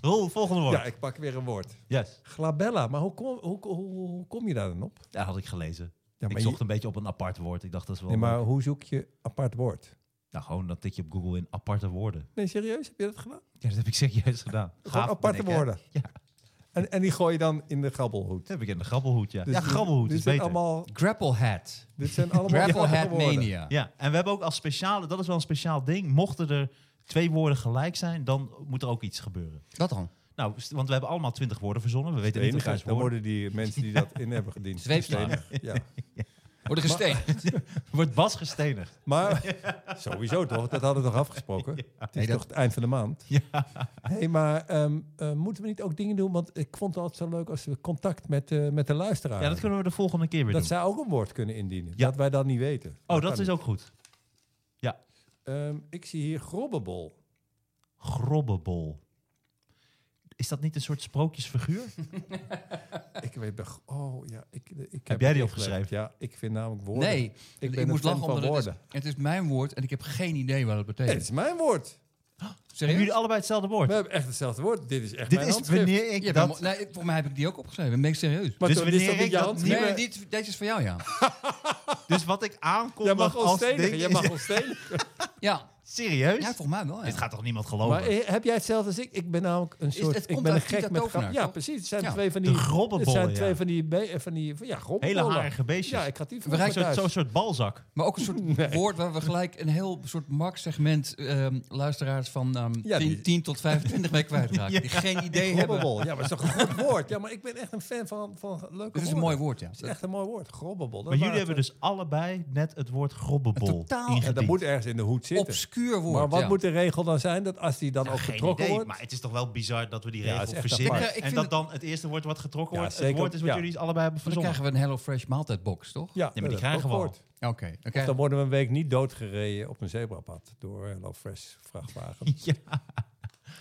S2: Rol, volgende woord.
S3: Ja, ik pak weer een woord.
S2: Yes.
S3: Glabella, maar hoe kom, hoe, hoe, hoe kom je daar dan op?
S2: Dat had ik gelezen.
S3: Ja,
S2: ik
S3: maar,
S2: zocht
S3: je-
S2: een beetje op een apart woord. Ik dacht, dat is wel...
S3: nee, maar hoe zoek je apart woord?
S2: Nou, gewoon dat tik je op Google in aparte woorden.
S3: Nee, serieus? Heb je dat gedaan?
S2: Ja, dat heb ik serieus gedaan.
S3: Gewoon aparte woorden.
S2: Ja.
S3: En, en die gooi je dan in de grabbelhoed.
S2: Dat heb ik in de grabbelhoed, ja.
S3: Dus
S2: ja,
S3: dit-
S2: grabbelhoed
S3: dit
S2: is
S3: zijn
S2: beter.
S3: allemaal,
S4: Grapple hat.
S3: Dit zijn allemaal
S4: Grapple
S3: aparte
S4: hat
S3: woorden.
S4: mania.
S2: Ja, en we hebben ook als speciale... Dat is wel een speciaal ding. Mochten er twee woorden gelijk zijn, dan moet er ook iets gebeuren.
S4: Wat dan?
S2: Nou, st- want we hebben allemaal twintig woorden verzonnen. We weten
S3: De
S2: niet
S3: enige
S2: elkaars
S3: dan
S2: woorden.
S3: worden die mensen die dat in hebben gediend.
S4: Zweepslagen.
S3: gestenig. Ja.
S4: Worden gesteend.
S2: Wordt Bas gestenigd.
S3: Maar sowieso toch, dat hadden we toch afgesproken? Het is
S4: Nee, dat-
S3: toch het eind van de maand?
S2: Ja.
S3: hey, maar ehm, eh, moeten we niet ook dingen doen? Want ik vond het altijd zo leuk als we contact met, eh, met de luisteraar
S2: Ja, dat kunnen we de volgende keer weer
S3: Dat
S2: doen.
S3: zij ook een woord kunnen indienen.
S2: Ja.
S3: Dat wij dat niet weten.
S2: Oh,
S3: kan
S2: dat is
S3: niet.
S2: ook goed.
S3: Ehm, ik zie hier grobbebol.
S2: Grobbebol. Is dat niet een soort sprookjesfiguur?
S3: Ik weet bij. Oh ja, ik, ik heb,
S2: jij die
S3: het
S2: opgeschreven?
S3: ingelegd. Ja, ik vind namelijk woorden.
S4: Nee,
S3: ik
S4: ik,
S3: ben
S4: moest
S3: een fan
S4: lachen
S3: van
S4: omdat het is,
S3: woorden.
S4: het is mijn woord en ik heb geen idee wat
S3: Nee,
S4: het
S3: het
S4: betekent.
S3: is mijn woord.
S2: Hebben
S4: Serieus?
S2: jullie allebei hetzelfde woord?
S3: We hebben echt hetzelfde woord. Dit is echt
S2: Dit
S3: mijn
S2: is
S3: handschrift.
S2: wanneer ik
S4: Ja,
S2: dat...
S4: maar- nee, voor mij heb ik die ook opgeschreven. Dan Ben ik serieus?
S3: Maar
S2: Dus
S3: toen is dat
S2: wanneer
S3: niet
S2: ik
S3: je
S2: dat-
S3: hand-
S2: Nee,
S4: Nee,
S3: maar-
S4: dit- deze is voor jou, ja.
S2: Dus wat ik aankondig
S3: Jij mag
S2: als
S3: ons stenigen.
S2: ding
S3: Jij
S2: is-
S3: mag ons stenigen.
S4: Ja,
S2: Serieus?
S4: ja volgens mij wel. Ja.
S2: Dit gaat toch niemand
S3: Maar
S2: geloven?
S3: eh, heb jij hetzelfde als ik? Ik ben namelijk een soort...
S4: het
S3: ik
S4: komt
S3: ben een
S4: uit
S3: gek
S4: Tita
S3: met
S4: Tovenaar,
S3: grap. Ja,
S4: toch?
S3: precies. Het zijn
S4: Ja.
S3: twee van
S2: de
S3: die...
S2: grobbenbollen,
S3: Het zijn
S2: ja.
S3: twee van die... be- eh, van die van, ja, grobbenbollen.
S2: Hele harige beestjes.
S3: Ja, ik had die
S4: We
S3: voor
S4: rijden
S2: Zo'n zo'n soort balzak.
S4: Maar ook een soort woord waar we gelijk een heel soort marktsegment ehm, luisteraars van ehm,
S3: Ja,
S4: 10,
S3: die-
S4: 10 tot 25 mee kwijtraken. Die geen idee hebben.
S3: Grobbebol. Ja, maar het is toch een goed woord. Ja, maar ik ben echt een fan van, van leuke
S4: Het is een
S3: woorden.
S4: mooi woord, ja.
S3: Het is echt een mooi woord. Grobbebol.
S2: Maar jullie hebben dus allebei net het woord grobbebol
S4: Totaal.
S2: ingediend.
S3: Ja, dat moet ergens in de hoed zitten.
S4: Obscuur woord,
S3: maar wat
S4: ja.
S3: moet de regel dan zijn? Dat als die dan
S2: Ja,
S3: ook
S2: geen
S3: getrokken
S2: idee,
S3: wordt...
S2: Maar het is toch wel bizar dat we die
S3: Ja, het
S2: regel
S3: is echt
S2: verzinnen.
S4: apart. Ik, eh, ik
S2: en
S4: vind
S2: dat
S4: het-
S2: dan het eerste woord wat getrokken
S3: Ja,
S2: wordt, het
S3: zeker.
S2: woord is wat
S3: Ja.
S2: jullie allebei hebben
S4: Dan
S2: verzonnen.
S4: krijgen we een HelloFresh maaltijdbox, toch?
S3: Ja,
S2: die
S3: dat is
S2: krijgen
S3: ook
S2: we al.
S3: woord.
S4: Oké. dan
S3: Of
S4: krijg-
S3: dan worden we een week niet doodgereden op een zebrapad door HelloFresh vrachtwagen.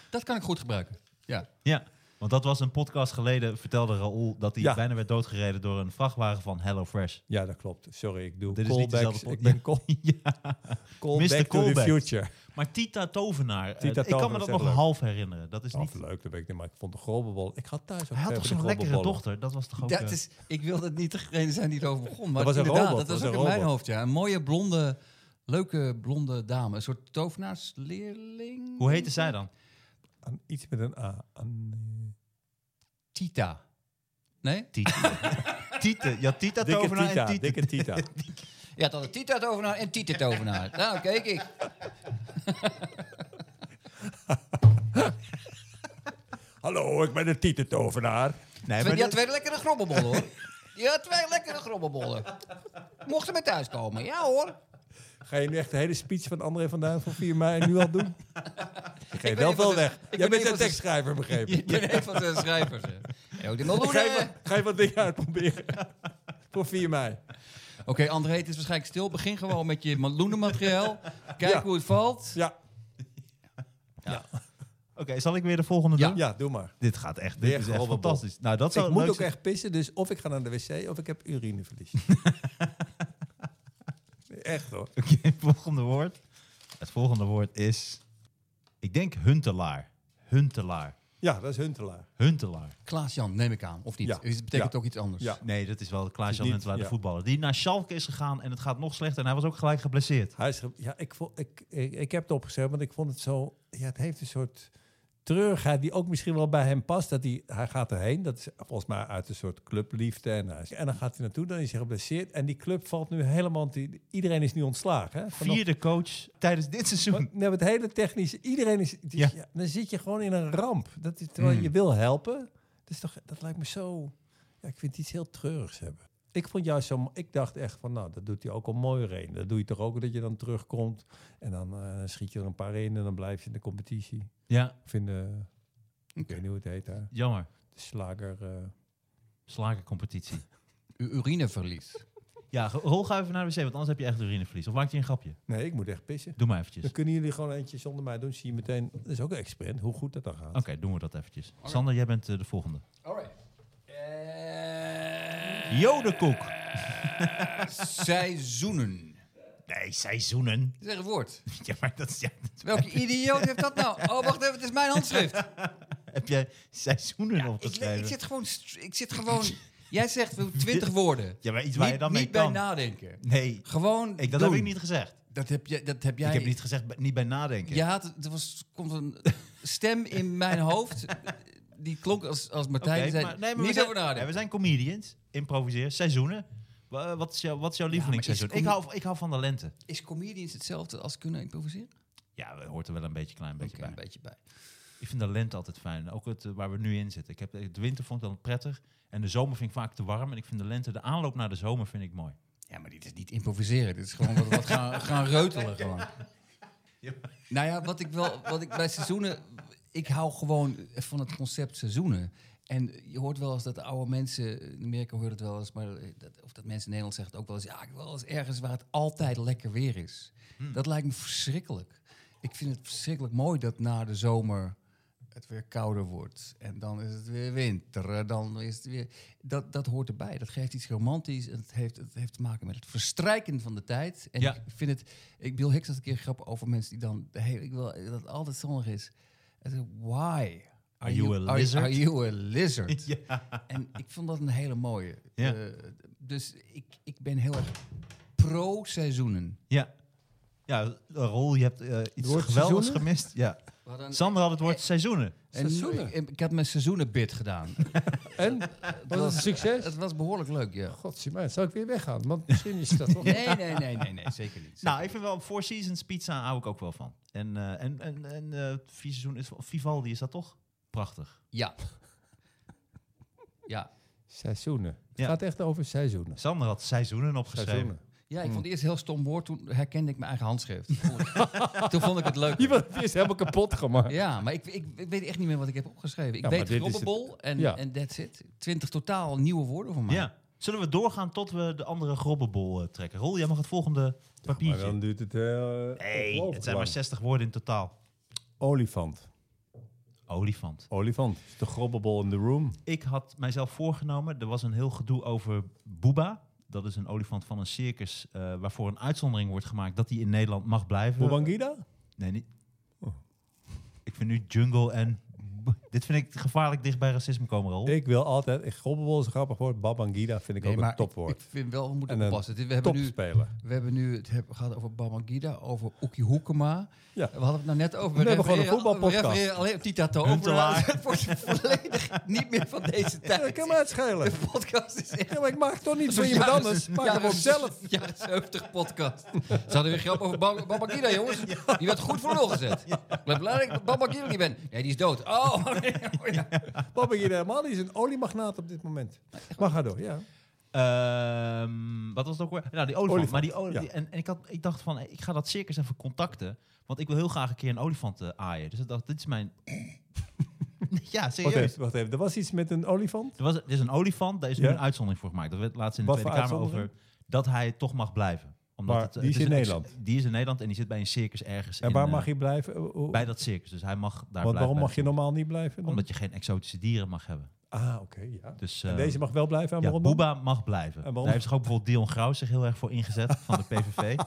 S4: Dat kan ik goed gebruiken. Ja.
S2: Ja, want dat was een podcast geleden, vertelde Raoul, dat hij
S3: Ja.
S2: bijna werd doodgereden door een vrachtwagen van HelloFresh.
S3: Ja, dat klopt. Sorry, ik doe
S2: Dit is niet
S3: callbacks.
S2: dezelfde pod-
S3: ik ben call,
S2: Mr.
S3: callback to the
S2: Callback.
S3: future.
S2: Maar Tita Tovenaar, eh,
S3: Tita
S2: ik kan me
S3: Tovenaar
S2: dat
S3: is
S2: nog
S3: echt leuk.
S2: half herinneren. Dat is
S3: Nou,
S2: niet...
S3: of leuk, dat weet ik niet, maar ik vond de grobbebol. Ik had thuis ook
S2: Hij had
S3: veel
S2: toch zo'n
S3: van die
S2: lekkere
S3: grobbebollen.
S2: dochter? Dat was toch ook...
S4: Dat
S2: eh,
S4: is, ik wil dat niet degene zijn die erover begon.
S3: Dat
S4: Maar
S3: was een
S4: inderdaad,
S3: robot,
S4: dat
S3: dat
S4: was
S3: was
S4: ook
S3: een
S4: in mijn
S3: robot.
S4: hoofd. Ja. Een mooie blonde, leuke blonde dame. Een soort tovenaarsleerling.
S2: Hoe heette zij dan?
S3: Aan iets met een A. Aan, eh,
S4: Tita. Nee?
S2: Tita. Tita. Ja, Tita
S3: dikke
S2: Tovenaar
S3: Tita,
S2: en Tita.
S3: dikke Tita.
S4: Ja, dat had Tita tovenaar en Tita tovenaar. Nou, keek ik.
S3: Hallo, ik ben de Tita-tovenaar.
S2: Nee,
S4: Twee,
S2: maar
S4: die
S2: dit-
S4: had twee lekkere grobbelbollen, hoor. Die had twee lekkere grobbelbollen. Mochten ze thuis komen. Ja, hoor.
S3: Ga je nu echt de hele speech van André van Duin van 4 mei nu al doen? Ik geef
S4: ben
S3: wel
S4: een van
S3: veel
S4: de-
S3: weg. Jij
S4: ik ben
S3: bent
S4: een
S3: een
S4: van de-
S3: tekstschrijver, begrepen.
S4: Ik ben een van de eh, schrijvers. hè. Ja, ook die meloenen.
S3: Ga je, wat- ga je wat dingen uitproberen? Voor 4 mei.
S4: Oké, André, het is waarschijnlijk stil. Begin gewoon met je meloenenmateriaal. Kijk
S3: Ja.
S4: hoe het valt.
S3: Ja. Ja.
S2: Oké, zal ik weer de volgende
S4: Ja.
S2: doen?
S3: Ja, doe maar.
S2: Dit gaat echt, dit
S3: Weer
S2: is echt
S3: gehobbeld.
S2: fantastisch. Nou, dat zou
S3: ik
S2: het
S3: moet ook
S2: leukste-
S3: echt pissen, dus of ik ga naar de wc of ik heb urineverlies. echt hoor.
S2: Oké, volgende woord. Het volgende woord is, ik denk huntelaar. Huntelaar.
S3: Ja, dat is Huntelaar.
S2: Huntelaar.
S4: Klaas-Jan, neem ik aan, of niet?
S3: Ja.
S4: Het betekent
S3: Ja.
S4: ook iets anders.
S3: Ja.
S2: Nee, dat is wel Klaas-Jan
S3: Niet,
S2: Huntelaar, de
S3: ja.
S2: voetballer. Die naar Schalke is gegaan en het gaat nog slechter. En hij was ook gelijk geblesseerd.
S3: Hij is ge- ja, ik, vo- ik, ik, ik heb het opgeschreven, want ik vond het zo... Ja, het heeft een soort treurigheid die ook misschien wel bij hem past. Dat hij, hij gaat erheen, dat is volgens mij uit een soort clubliefde. En, hij is- en dan gaat hij naartoe, dan is hij geblesseerd. En die club valt nu helemaal... te- Iedereen is nu ontslagen. Hè? Vanaf-
S2: Vierde coach tijdens dit seizoen.
S3: Want we hebben het hele technische. Iedereen is. het is-
S2: Ja.
S3: ja, dan zit je gewoon in een ramp. Dat is, terwijl
S4: Mm.
S3: je wil helpen. Dus toch, dat lijkt me zo. Ja, ik vind het iets heel treurigs hebben. Ik vond juist zo. Ik dacht echt van, nou, dat doet hij ook al mooier heen. Dat doe je toch ook dat je dan terugkomt en dan eh, schiet je er een paar in en dan blijf je in de competitie.
S2: Ja,
S3: Of in de. Ik weet niet hoe het heet daar.
S2: jammer.
S3: De slager. eh,
S2: Slagercompetitie.
S4: U- urineverlies.
S2: Ja, ge- rol ga even naar de wc, want anders heb je echt urinevlies. Of maak je een grapje?
S3: Nee, ik moet echt pissen.
S2: Doe maar
S3: Dan
S2: eventjes.
S3: kunnen jullie gewoon eentje zonder mij doen. Zie je meteen. Dat is ook een experiment. Hoe goed dat dan gaat.
S2: Oké, doen we dat eventjes. Sander, jij bent eh, de volgende.
S4: Alright. Eh,
S2: Jodenkoek.
S4: Seizoenen.
S2: Nee, seizoenen.
S4: Zeg een woord.
S2: Ja, maar dat is... Ja, dat-
S4: Welke idioot heeft dat nou? Oh, wacht even, het is mijn handschrift.
S2: heb jij seizoenen
S4: Ik,
S2: opgeschreven?
S4: ik zit gewoon. st- Ik zit gewoon jij zegt we- 20 woorden.
S2: Ja, maar iets waar je
S4: Niet-
S2: dan mee
S4: niet
S2: kan.
S4: bij nadenken.
S2: Nee,
S4: Gewoon.
S2: ik, dat
S4: doen.
S2: heb ik niet gezegd.
S4: Dat heb, jij, dat heb jij.
S2: Ik heb niet gezegd, b- niet bij nadenken.
S4: Je had, er was, komt een stem in mijn hoofd. Die klonk als, als
S2: Oké,
S4: Martijn. zei,
S2: maar, nee, maar we,
S4: niet
S2: zijn,
S4: over
S2: nee, we
S4: nadenken.
S2: zijn comedians, improviseer, seizoenen. Wa- eh, Wat is, jou, wat is jouw lievelingsseizoen?
S4: maar is
S2: ik,
S4: comi-
S2: hou, ik hou van de lente.
S4: Is comedians hetzelfde als kunnen improviseren?
S2: Ja, dat hoort er wel een beetje klein beetje
S4: Oké,
S2: bij.
S4: een beetje bij.
S2: Ik vind de lente altijd fijn. Ook het, eh, waar we nu in zitten. Ik heb, de winter vond ik dan prettig. En de zomer vind ik vaak te warm. En ik vind de lente, de aanloop naar de zomer vind ik mooi.
S4: Ja, maar dit is niet improviseren. Dit is gewoon wat, wat gaan, gaan reutelen gewoon. Nou ja, wat ik wel, wat ik bij seizoenen, ik hou gewoon van het concept seizoenen. En je hoort wel eens dat de oude mensen, in Amerika hoort het wel eens, maar dat, of dat mensen in Nederland zeggen het ook wel eens, ja, ik wil wel eens ergens waar het altijd lekker weer is. Dat lijkt me verschrikkelijk. Ik vind het verschrikkelijk mooi dat na de zomer het weer kouder wordt. En dan is het weer winter. en Dan is het weer... Dat, dat hoort erbij. Dat geeft iets romantisch. En het heeft, het heeft te maken met het verstrijken van de tijd. En
S2: Ja.
S4: ik vind het... Ik, Bill Hicks had een keer een grap over mensen die dan... de hele- ik wil dat het altijd zonnig is. En toen, why?
S2: Are you a
S4: are-
S2: lizard?
S4: Are, you a lizard?
S2: Ja.
S4: En ik vond dat een hele mooie.
S2: Ja.
S4: Eh, dus ik, ik ben heel erg pro-seizoenen.
S2: Ja, ja Rol, je hebt eh, iets
S3: woord
S2: geweldigs
S3: seizoenen?
S2: gemist. Ja. Sandra had het woord seizoenen.
S4: En,
S3: Seizoenen?
S4: ik, ik had mijn seizoenenbid gedaan.
S3: En? Was het een succes?
S4: het was behoorlijk leuk, ja.
S3: Godzijdank, zou ik weer weggaan? Want misschien is dat toch...
S4: Nee, nee, nee, nee, nee, zeker niet.
S2: Nou, ik vind wel Four Seasons pizza hou ik ook wel van. En, eh, en, en, en eh, vier seizoen is Vivaldi is dat toch? Prachtig.
S4: Ja. Ja.
S3: Seizoenen. Het
S2: Ja.
S3: gaat echt over seizoenen.
S2: Sander had seizoenen opgeschreven.
S3: Seizoenen.
S4: Ja, ik vond het eerst een heel stom woord. Toen herkende ik mijn eigen handschrift. Toen vond ik het
S3: Je
S4: leuk.
S3: wordt het eerst helemaal kapot gemaakt.
S4: Ja, maar ik, ik, ik weet echt niet meer wat ik heb opgeschreven. Ik
S3: Ja, maar
S4: weet
S3: dit is het.
S4: grobbebol en,
S3: Ja.
S4: en that's it. Twintig totaal nieuwe woorden voor mij.
S2: Ja. Zullen we doorgaan tot we de andere grobbenbol eh, trekken? Rol, jij mag het volgende papiertje.
S3: duurt het eh, heel...
S2: Nee, het zijn maar 60 woorden in totaal.
S3: Olifant.
S2: Olifant.
S3: Olifant. Is de grobbelbol in the room.
S2: Ik had mijzelf voorgenomen, er was een heel gedoe over Booba. Dat is een olifant van een circus eh, waarvoor een uitzondering wordt gemaakt dat hij in Nederland mag blijven.
S3: Boebangida?
S2: Nee, niet.
S3: Oh.
S2: Ik vind nu jungle en... Dit vind ik gevaarlijk dicht bij racisme komen, Rol.
S3: Ik wil altijd... ik- Grobbelbol is een grappig woord. Babangida vind ik
S4: Nee,
S3: ook
S4: maar
S3: een topwoord.
S4: Ik vind wel, we
S3: En
S4: moeten
S3: een
S4: oppassen. Dit- We hebben, nu,
S3: Topspeler.
S4: we hebben nu het heb- gehad over Bamangida, over Oekie Hoekema.
S3: Ja.
S4: We hadden het nou net over.
S3: We hebben gewoon een
S4: refereren-
S3: voetbalpodcast.
S4: We refereren alleen op Tita Tovera.
S2: Huntelaar.
S4: Het wordt volledig niet meer van deze
S3: Ja, dat
S4: tijd.
S3: kan mij het schelen.
S4: De podcast is echt
S3: Ja, maar ik maak het toch niet van iemand anders. Maak het
S4: Jaren-
S3: gewoon zelf.
S4: Jaren 70 podcast. Ze hadden weer grap over Bab- Babakida, jongens. Die werd goed voor lul gezet. Ik ben blij dat ik Babakida niet ben. Nee, die is dood. Oh, nee. oh, ja.
S3: Babangida helemaal die is een oliemagnaat op dit moment. Maar ga door, ja.
S2: Ehm, wat was het ook weer? Nou, die olifant.
S3: Olifant,
S2: Maar die oli-
S3: ja.
S2: en, en ik, had, ik dacht van, ik ga dat circus even contacten. Want ik wil heel graag een keer een olifant eh, aaien. Dus ik dacht, dit is mijn... ja,
S3: Wat
S2: serieus.
S3: even, wat even. Er was iets met een olifant?
S2: Er, was, er is een olifant, daar is nu
S3: Ja?
S2: een uitzondering voor gemaakt. Dat werd laatst in de
S3: Wat
S2: Tweede
S3: voor
S2: Kamer over...
S3: uitzondering?
S2: dat hij toch mag blijven. Omdat
S3: Maar
S2: het, eh,
S3: die
S2: het
S3: is in
S2: een ex-
S3: Nederland?
S2: Die is in Nederland en die zit bij een circus ergens.
S3: En
S2: in,
S3: waar
S2: eh,
S3: mag je blijven? Hoe- hoe-
S2: Bij dat circus. Dus hij mag daar
S3: want
S2: blijven.
S3: waarom
S2: bij
S3: mag je
S2: dat circus.
S3: normaal niet blijven? dan?
S2: Omdat je geen exotische dieren mag hebben.
S3: Ah, oké, ja.
S2: Dus,
S3: En
S2: eh,
S3: deze mag wel blijven aan
S2: ja,
S3: waarom dan?
S2: Booba mag blijven.
S3: waarom?
S2: Daar heeft zich ook bijvoorbeeld Dion Graus zich heel erg voor ingezet van de PVV.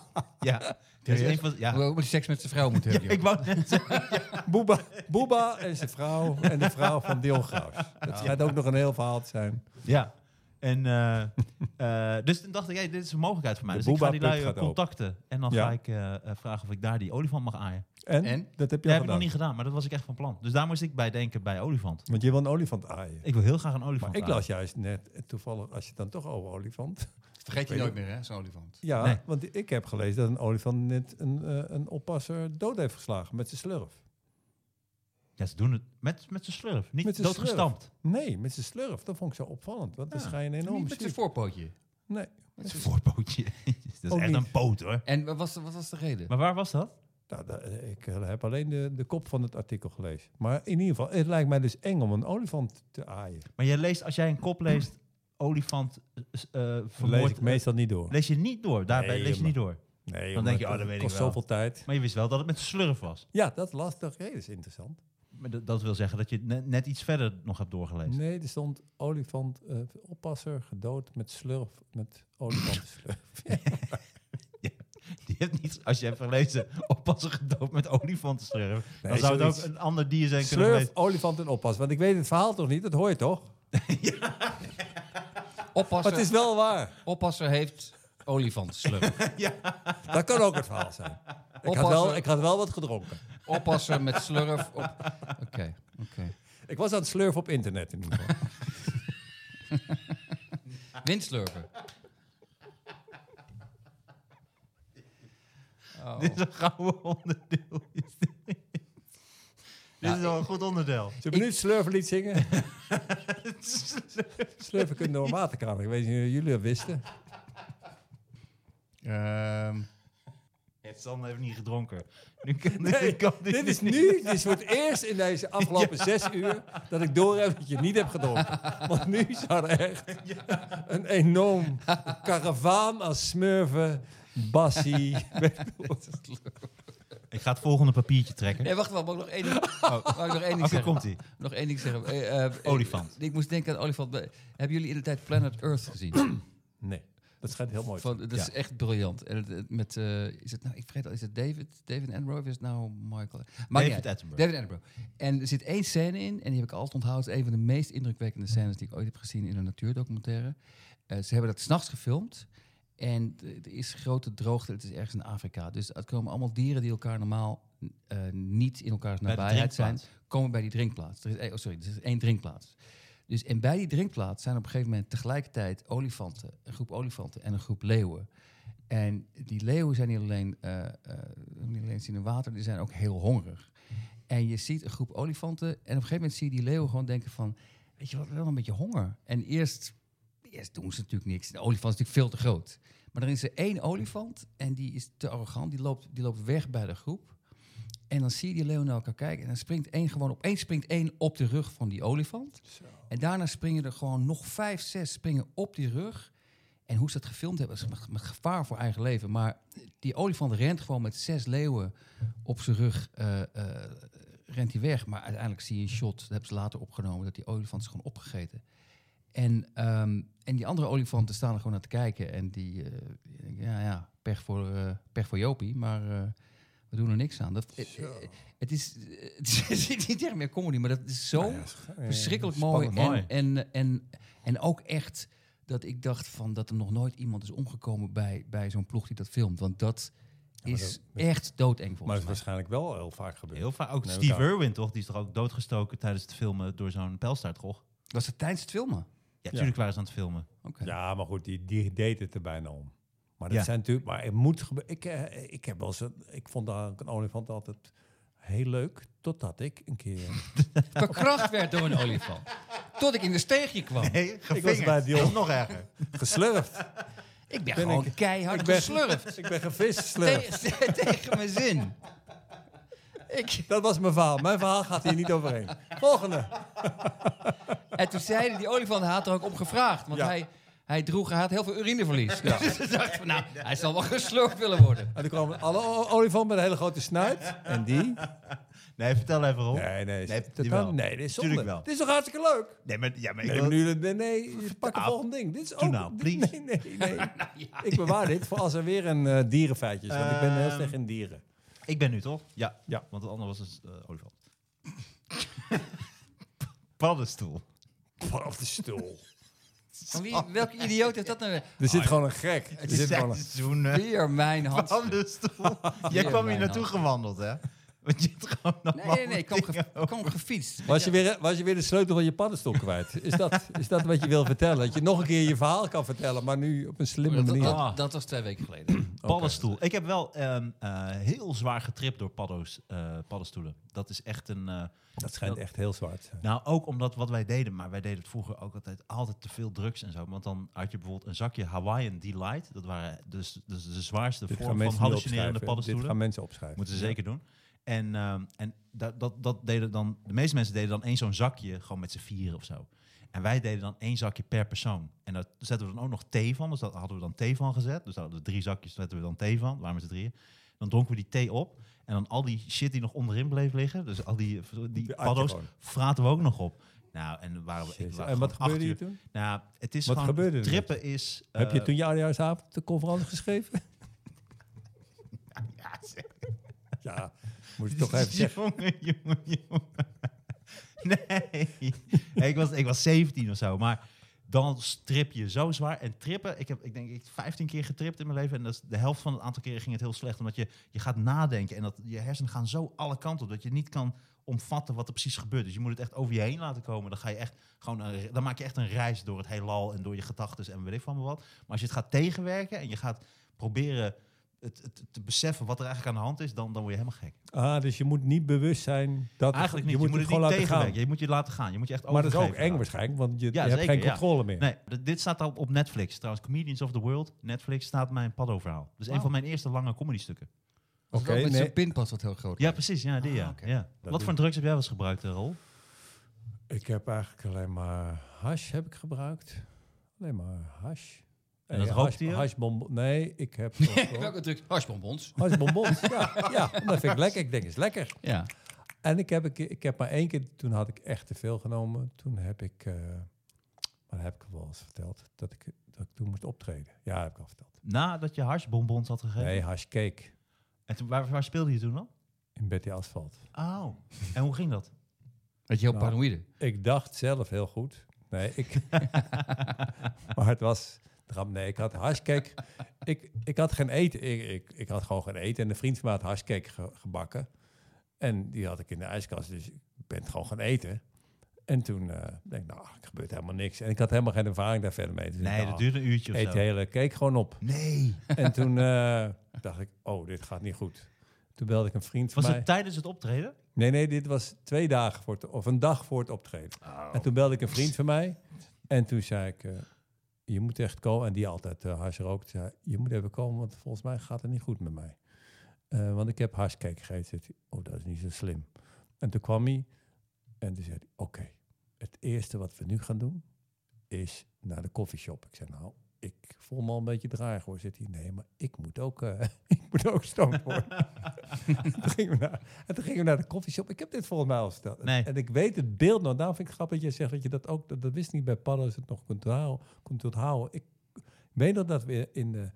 S2: ja, dat is een van, ja.
S4: Waarom moet je seks met zijn vrouw moeten
S2: Ja,
S4: hebben?
S2: ik wou net zeggen.
S3: Booba, Booba en zijn vrouw en de vrouw van Dion Graus. Dat schijnt ook nog een heel verhaal te zijn.
S2: Ja. En, eh, eh, dus toen dacht ik, hey, dit is een mogelijkheid voor mij.
S3: De
S2: dus ik ga die lui
S3: Booba-put
S2: eh,
S3: gaat open.
S2: contacten. En dan
S3: Ja.
S2: ga ik eh, eh, vragen of ik daar die olifant mag aaien.
S3: En?
S4: En?
S2: dat
S3: Dat heb je al
S2: heb ik nog
S3: gedaan.
S2: niet gedaan, maar dat was ik echt van plan. Dus daar moest ik bij denken bij olifant.
S3: Want je wil een olifant aaien.
S2: Ik wil heel graag een olifant
S3: Maar ik
S2: aaien.
S3: las juist net, eh, toevallig, als je het dan toch over olifant...
S4: Vergeet je
S3: Weet
S4: nooit meer, hè, zo'n olifant.
S3: Ja,
S2: Nee.
S3: want ik heb gelezen dat een olifant net een, eh, een oppasser dood heeft geslagen met zijn slurf.
S2: Ja, ze doen het met, met zijn slurf.
S3: Met
S2: Niet
S3: zijn
S2: doodgestampt.
S3: Nee, met zijn slurf. Dat vond ik zo opvallend. Want dan
S2: Ja.
S3: schijn je een enorm
S4: Niet met zijn
S3: ziek.
S4: voorpootje.
S3: Nee.
S2: Met zijn voorpootje. dat
S3: Ook
S2: is echt
S3: niet.
S2: een poot hoor.
S4: En wat was, de- wat was de reden?
S2: Maar waar was dat?
S3: Nou, da- ik eh, heb alleen de, de kop van het artikel gelezen. Maar in ieder geval, het lijkt mij dus eng om een olifant te aaien.
S2: Maar jij leest, als jij een kop leest, olifant eh, s- eh
S3: Dat
S2: vermoord. eh,
S3: lees ik meestal niet door.
S2: lees je niet door. Daarbij
S3: Nee,
S2: lees je
S3: maar-
S2: niet door.
S3: Nee,
S2: Dan
S3: omdat
S2: denk je,
S3: het
S2: oh, dat weet ik
S3: kost
S2: wel.
S3: zoveel tijd.
S2: Maar je wist wel dat het met zijn slurf was.
S3: Ja, dat lastig. Hey, dat is interessant.
S2: Maar dat, dat wil zeggen dat je het net, net iets verder nog hebt doorgelezen.
S3: Nee, er stond olifant, eh, oppasser, gedood met slurf, met olifantenslurf.
S2: Die heeft niet, als je hebt gelezen, oppassen gedoofd met olifantenslurf.
S3: Nee,
S2: dan zou het
S3: zoiets.
S2: ook een ander dier zijn kunnen
S3: slurf,
S2: geweest.
S3: olifant en oppas. Want ik weet het verhaal toch niet, dat hoor je toch? Maar
S4: Oppasser,
S3: het is wel waar.
S4: oppasser heeft olifantslurf.
S3: Dat kan ook het verhaal zijn. Ik had, wel,
S4: Oppasser.
S3: ik had wel wat gedronken.
S4: oppasser met slurf. Op... Oké, oké.
S3: Ik was aan het slurf op internet in ieder geval.
S4: Windslurven. Oh.
S2: Dit is een gouden onderdeel. is dit. Dit is wel een goed onderdeel.
S3: Zullen we nu het slurflied zingen? Slurven kunnen door een waterkamer. Ik weet niet of jullie dat wisten.
S4: Ehm,
S2: Het Sander heeft niet gedronken. Nu kan,
S3: Nee,
S2: nu kan dit,
S3: Dit is
S2: niet.
S3: nu, dit is voor het eerst in deze afgelopen zes uur dat ik door heb dat je niet hebt gedronken. Want nu zou er echt een enorm karavaan aan smurven, bassie.
S2: Ik ga het volgende papiertje trekken.
S4: Nee, wacht wel. Mag ik nog één ding, oh, mag ik nog één ding
S2: Oké,
S4: zeggen?
S2: komt ie.
S4: Nog één ding zeggen. Eh, eh,
S2: Olifant.
S4: Ik, ik moest denken aan olifant. Hebben jullie in de tijd Planet Earth gezien?
S3: Nee, dat schijnt heel mooi. te
S4: Van, dat is echt briljant. En het, het met, eh, is het nou, ik vergeet al, is het David? David Attenborough of is het nou Michael? Maar
S2: David Attenborough.
S4: David Attenborough. En er zit één scène in, en die heb ik altijd onthouden. Het is een van de meest indrukwekkende scènes die ik ooit heb gezien in een natuurdocumentaire. Eh, ze hebben dat s'nachts gefilmd. En d- er is grote droogte, het is ergens in Afrika. Dus er komen allemaal dieren die elkaar normaal eh, niet in elkaars
S2: Bij de
S4: nabijheid zijn,
S2: drinkplaats.
S4: komen bij die drinkplaats. Er is, één- oh, sorry, er is één drinkplaats. Dus en bij die drinkplaats zijn op een gegeven moment tegelijkertijd olifanten, een groep olifanten en een groep leeuwen. En die leeuwen zijn niet alleen, eh, eh, niet alleen zien in water, die zijn ook heel hongerig. En je ziet een groep olifanten en op een gegeven moment zie je die leeuwen gewoon denken van, weet je wat, we hebben wel een beetje honger. En eerst, eerst doen ze natuurlijk niks. De olifant is natuurlijk veel te groot. Maar er is er één olifant en die is te arrogant, die loopt, die loopt weg bij de groep. En dan zie je die leeuwen naar elkaar kijken en dan springt één gewoon, opeens springt één op de rug van die olifant. En daarna springen er gewoon nog vijf, zes springen op die rug. En hoe ze dat gefilmd hebben, is met- met gevaar voor eigen leven. Maar die olifant rent gewoon met zes leeuwen op zijn rug. eh, eh, rent hij weg. Maar uiteindelijk zie je een shot, dat hebben ze later opgenomen, dat die olifant is gewoon opgegeten. En, ehm, en die andere olifanten staan er gewoon naar te kijken. En die, eh, die denken, ja, ja, pech voor, eh, pech voor Jopie, maar eh, we doen er niks aan. Dat, eh, eh, het, is, eh, het is niet echt meer comedy, maar dat is zo verschrikkelijk mooi.
S2: Mooi.
S4: En, en, en, en ook echt dat ik dacht van dat er nog nooit iemand is omgekomen bij, bij zo'n ploeg die dat filmt. Want dat is echt doodeng
S3: Maar
S4: volgens
S3: het is
S4: mij.
S3: waarschijnlijk wel heel vaak gebeurd.
S2: Heel vaak. Ook
S3: Nee,
S2: Steve
S3: elkaar.
S2: Irwin, toch? Die is toch ook doodgestoken tijdens het filmen door zo'n pijlstaartrog?
S4: Was het tijdens het filmen?
S2: Ja, natuurlijk waren ze aan het filmen.
S4: Oké.
S3: Ja, maar goed, die, die deed het er bijna om. Maar dat
S2: Ja.
S3: zijn natuurlijk, maar het moet gebe- ik, eh, ik heb wel eens, een- ik vond daar een olifant altijd heel leuk, totdat ik een keer.
S4: Verkracht werd door een olifant. Tot ik in de steegje kwam.
S2: Nee,
S3: ik was bij Dion.
S2: nog erger.
S3: Geslurfd.
S4: Ik
S3: Ben
S4: ben, gewoon
S3: ik-
S4: keihard
S3: ik ben-
S4: geslurfd.
S3: ik ben gevist, slurf.
S4: Tegen, tegen mijn zin. Ik,
S3: Dat was mijn verhaal. Mijn verhaal gaat hier niet overheen. Volgende.
S4: en toen zeiden die olifant had er ook om gevraagd. Want
S3: Ja.
S4: hij, Hij droeg, hij had heel veel urineverlies. Dus ze dacht van, nou, hij zal wel geslurpt willen worden.
S3: En toen kwamen alle o- olifanten met een hele grote snuit. En die?
S2: Nee, vertel even waarom.
S3: Nee, nee.
S2: Oh. Nee,
S3: dat
S2: jawel.
S3: kan- nee dit is zonde.
S2: Tuurlijk wel.
S3: Dit is toch hartstikke leuk?
S2: Nee, maar, ja, maar ik
S3: Nee,
S2: wil-
S3: maar nu, nee, nee, je pak het
S2: Ah,
S3: volgende ding. Dit is
S2: doe
S3: ook...
S2: nou,
S3: dit-
S2: please.
S3: Nee, nee, nee. Ik bewaar dit voor als er weer een eh, dierenfeitje is. Want ik ben heel
S2: Ehm,
S3: slecht in dieren.
S2: Ik ben nu toch? Ja.
S3: Ja.
S2: Want het andere was een eh, olifant. Paddenstoel.
S3: Paddenstoel.
S4: Van wie, welke idioot heeft dat nou weer?
S3: Er
S2: Ah,
S3: zit gewoon een gek. Er
S2: Het
S3: zit
S2: is
S3: gewoon
S2: zijn
S3: een...
S2: seizoen. eh,
S4: Weer mijn hand.
S2: paddenstoel. Jij
S4: Ja,
S2: kwam hier
S4: bijna.
S2: naartoe gewandeld, hè? Want je had gewoon nog
S4: Nee, nee, nee, ik kwam, ge- ik kwam gefietst.
S3: Was je, weer, was je weer de sleutel van je paddenstoel kwijt? Is dat, is dat wat je wil vertellen? Dat je nog een keer je verhaal kan vertellen, maar nu op een slimme
S4: Dat, dat,
S3: manier.
S4: dat- dat was twee weken geleden.
S2: Paddenstoel. Ik heb wel ehm, eh, heel zwaar getript door paddo's, eh, paddenstoelen. Dat is echt een... eh,
S3: Dat schijnt echt heel zwaar te zijn.
S2: Nou, ook omdat wat wij deden, maar wij deden het vroeger ook altijd altijd te veel drugs en zo. Want dan had je bijvoorbeeld een zakje Hawaiian Delight. Dat waren dus, dus de zwaarste
S3: Dit gaan
S2: vorm van
S3: mensen nu
S2: hallucinerende
S3: opschrijven. Dit
S2: paddenstoelen.
S3: gaan mensen opschrijven.
S2: Moeten ze zeker doen. En, ehm, en dat, dat, dat deden dan, de meeste mensen deden dan één zo'n zakje, gewoon met z'n vieren of zo. En wij deden dan één zakje per persoon. En daar zetten we dan ook nog thee van. Dus daar hadden we dan thee van gezet. Dus daar hadden we drie zakjes, daar zetten we dan thee van. Waren we z'n drieën. Dan dronken we die thee op. En dan al die shit die nog onderin bleef liggen. Dus al die, die
S3: je
S2: paddo's
S3: gewoon.
S2: fraten we ook nog op. Nou, en dan waren we, ik
S3: Jezus.
S2: waren
S3: En wat
S2: gewoon acht
S3: gebeurde hier
S2: uur.
S3: toen?
S2: Nou, het is
S3: Wat
S2: gewoon,
S3: gebeurde er
S2: trippen is...
S3: Heb je
S2: eh,
S3: toen je oudejaarsavond de conferentie geschreven?
S2: ja, zeg.
S3: Ja, moet ik toch even zeggen.
S2: Jongen, jongen, jongen. Nee. ik, was, ik was 17 of zo. Maar dan strip je zo zwaar. En trippen, ik heb ik denk ik 15 keer getript in mijn leven. En dat is de helft van het aantal keren ging het heel slecht. Omdat je, je gaat nadenken. En dat, je hersenen gaan zo alle kanten op. Dat je niet kan omvatten wat er precies gebeurt. Dus je moet het echt over je heen laten komen. Dan, ga je echt gewoon een re- dan maak je echt een reis door het heelal. En door je gedachten en weet ik van me wat. Maar als je het gaat tegenwerken. En je gaat proberen het, het, te beseffen wat er eigenlijk aan de hand is. Dan, dan word je helemaal gek.
S3: Ah, dus je moet niet bewust zijn dat
S2: Eigenlijk niet.
S3: je moet, het
S2: niet
S3: gewoon laten
S2: tegenwerken.
S3: gaan.
S2: Je moet je laten gaan. Je moet je echt
S3: Maar dat is ook
S2: overgeven
S3: eng
S2: laten.
S3: waarschijnlijk, want je,
S2: Ja,
S3: je hebt
S2: zeker,
S3: geen
S2: ja.
S3: controle meer.
S2: Nee, d- dit staat al op Netflix. Trouwens, Comedians of the World. Netflix staat mijn paddo-verhaal. Dus een
S4: Wauw.
S2: van mijn eerste lange comedystukken.
S4: Oké,
S3: Oké,
S4: met
S3: nee.
S4: zo'n pinpas wat heel groot
S2: Ja, precies. Ja, die,
S4: Ah,
S2: ja.
S4: oké.
S2: ja.
S3: doe
S2: Wat voor drugs heb jij wel eens gebruikt, eh, Rol?
S3: Ik heb eigenlijk alleen maar hash heb ik gebruikt. Alleen maar hash.
S2: En dat
S3: Eh,
S2: rookt
S3: hash-
S2: hij ook?
S3: hashbonbon- Nee, ik heb...
S4: Welke druk? Harsbonbons.
S3: Hashbonbons, ja. ja. Dat vind ik lekker. Ik denk, is lekker.
S4: Ja.
S3: En ik heb, ik, ik heb maar één keer, toen had ik echt te veel genomen. Toen heb ik, eh, maar dat heb ik wel eens verteld, dat ik, dat ik toen moest optreden. Ja, dat heb ik al verteld.
S2: Nadat je harsbonbons had gegeven.
S3: Nee, hashcake
S2: En toen, waar, waar speelde je toen dan?
S3: in Betty Asphalt.
S2: Oh. en hoe ging dat?
S4: Dat je heel
S3: Nou.
S4: paranoïde.
S3: Ik dacht zelf heel goed. Nee, ik... maar het was... dram- Nee, ik had hashcake. Ik, ik had geen eten. Ik, ik, ik had gewoon geen eten. En een vriend van mij had hashcake ge- gebakken. En die had ik in de ijskast. Dus ik ben het gewoon gaan eten. En toen eh, denk ik, nou, er gebeurt helemaal niks. En ik had helemaal geen ervaring daar verder mee. Dus ik
S2: Nee,
S3: dacht,
S2: dat
S3: ah,
S2: duurde een uurtje of
S3: Eet
S2: zo.
S3: de hele cake gewoon op.
S2: Nee.
S3: En toen eh, dacht ik, oh, dit gaat niet goed. Toen belde ik een vriend van
S2: Was
S3: mij. Oh,
S2: het tijdens het optreden?
S3: Nee, nee, dit was twee dagen voor het, of een dag voor het optreden. En toen belde ik een vriend van mij. En toen zei ik, eh, je moet echt komen. En die altijd eh hars rookt. Zei, je moet even komen, want volgens mij gaat het niet goed met mij. Eh, want ik heb harscake gegeten. Zei hij, oh, dat is niet zo slim. En toen kwam hij en toen zei hij, oké, het eerste wat we nu gaan doen is naar de koffieshop. Ik zei, nou, ik voel me al een beetje draag hoor. Zit hij, nee, maar ik moet ook, eh, ik moet ook stoned worden. toen gingen we naar, en toen gingen we naar de koffieshop. Ik heb dit volgens mij al verteld.
S2: Nee.
S3: En ik weet het beeld nog. Daarom vind ik het grappig dat jij zegt dat je dat ook, dat, dat wist ik niet bij Paddo's het nog kunt houden. Kunt onthouden. Ik weet nog dat we in de,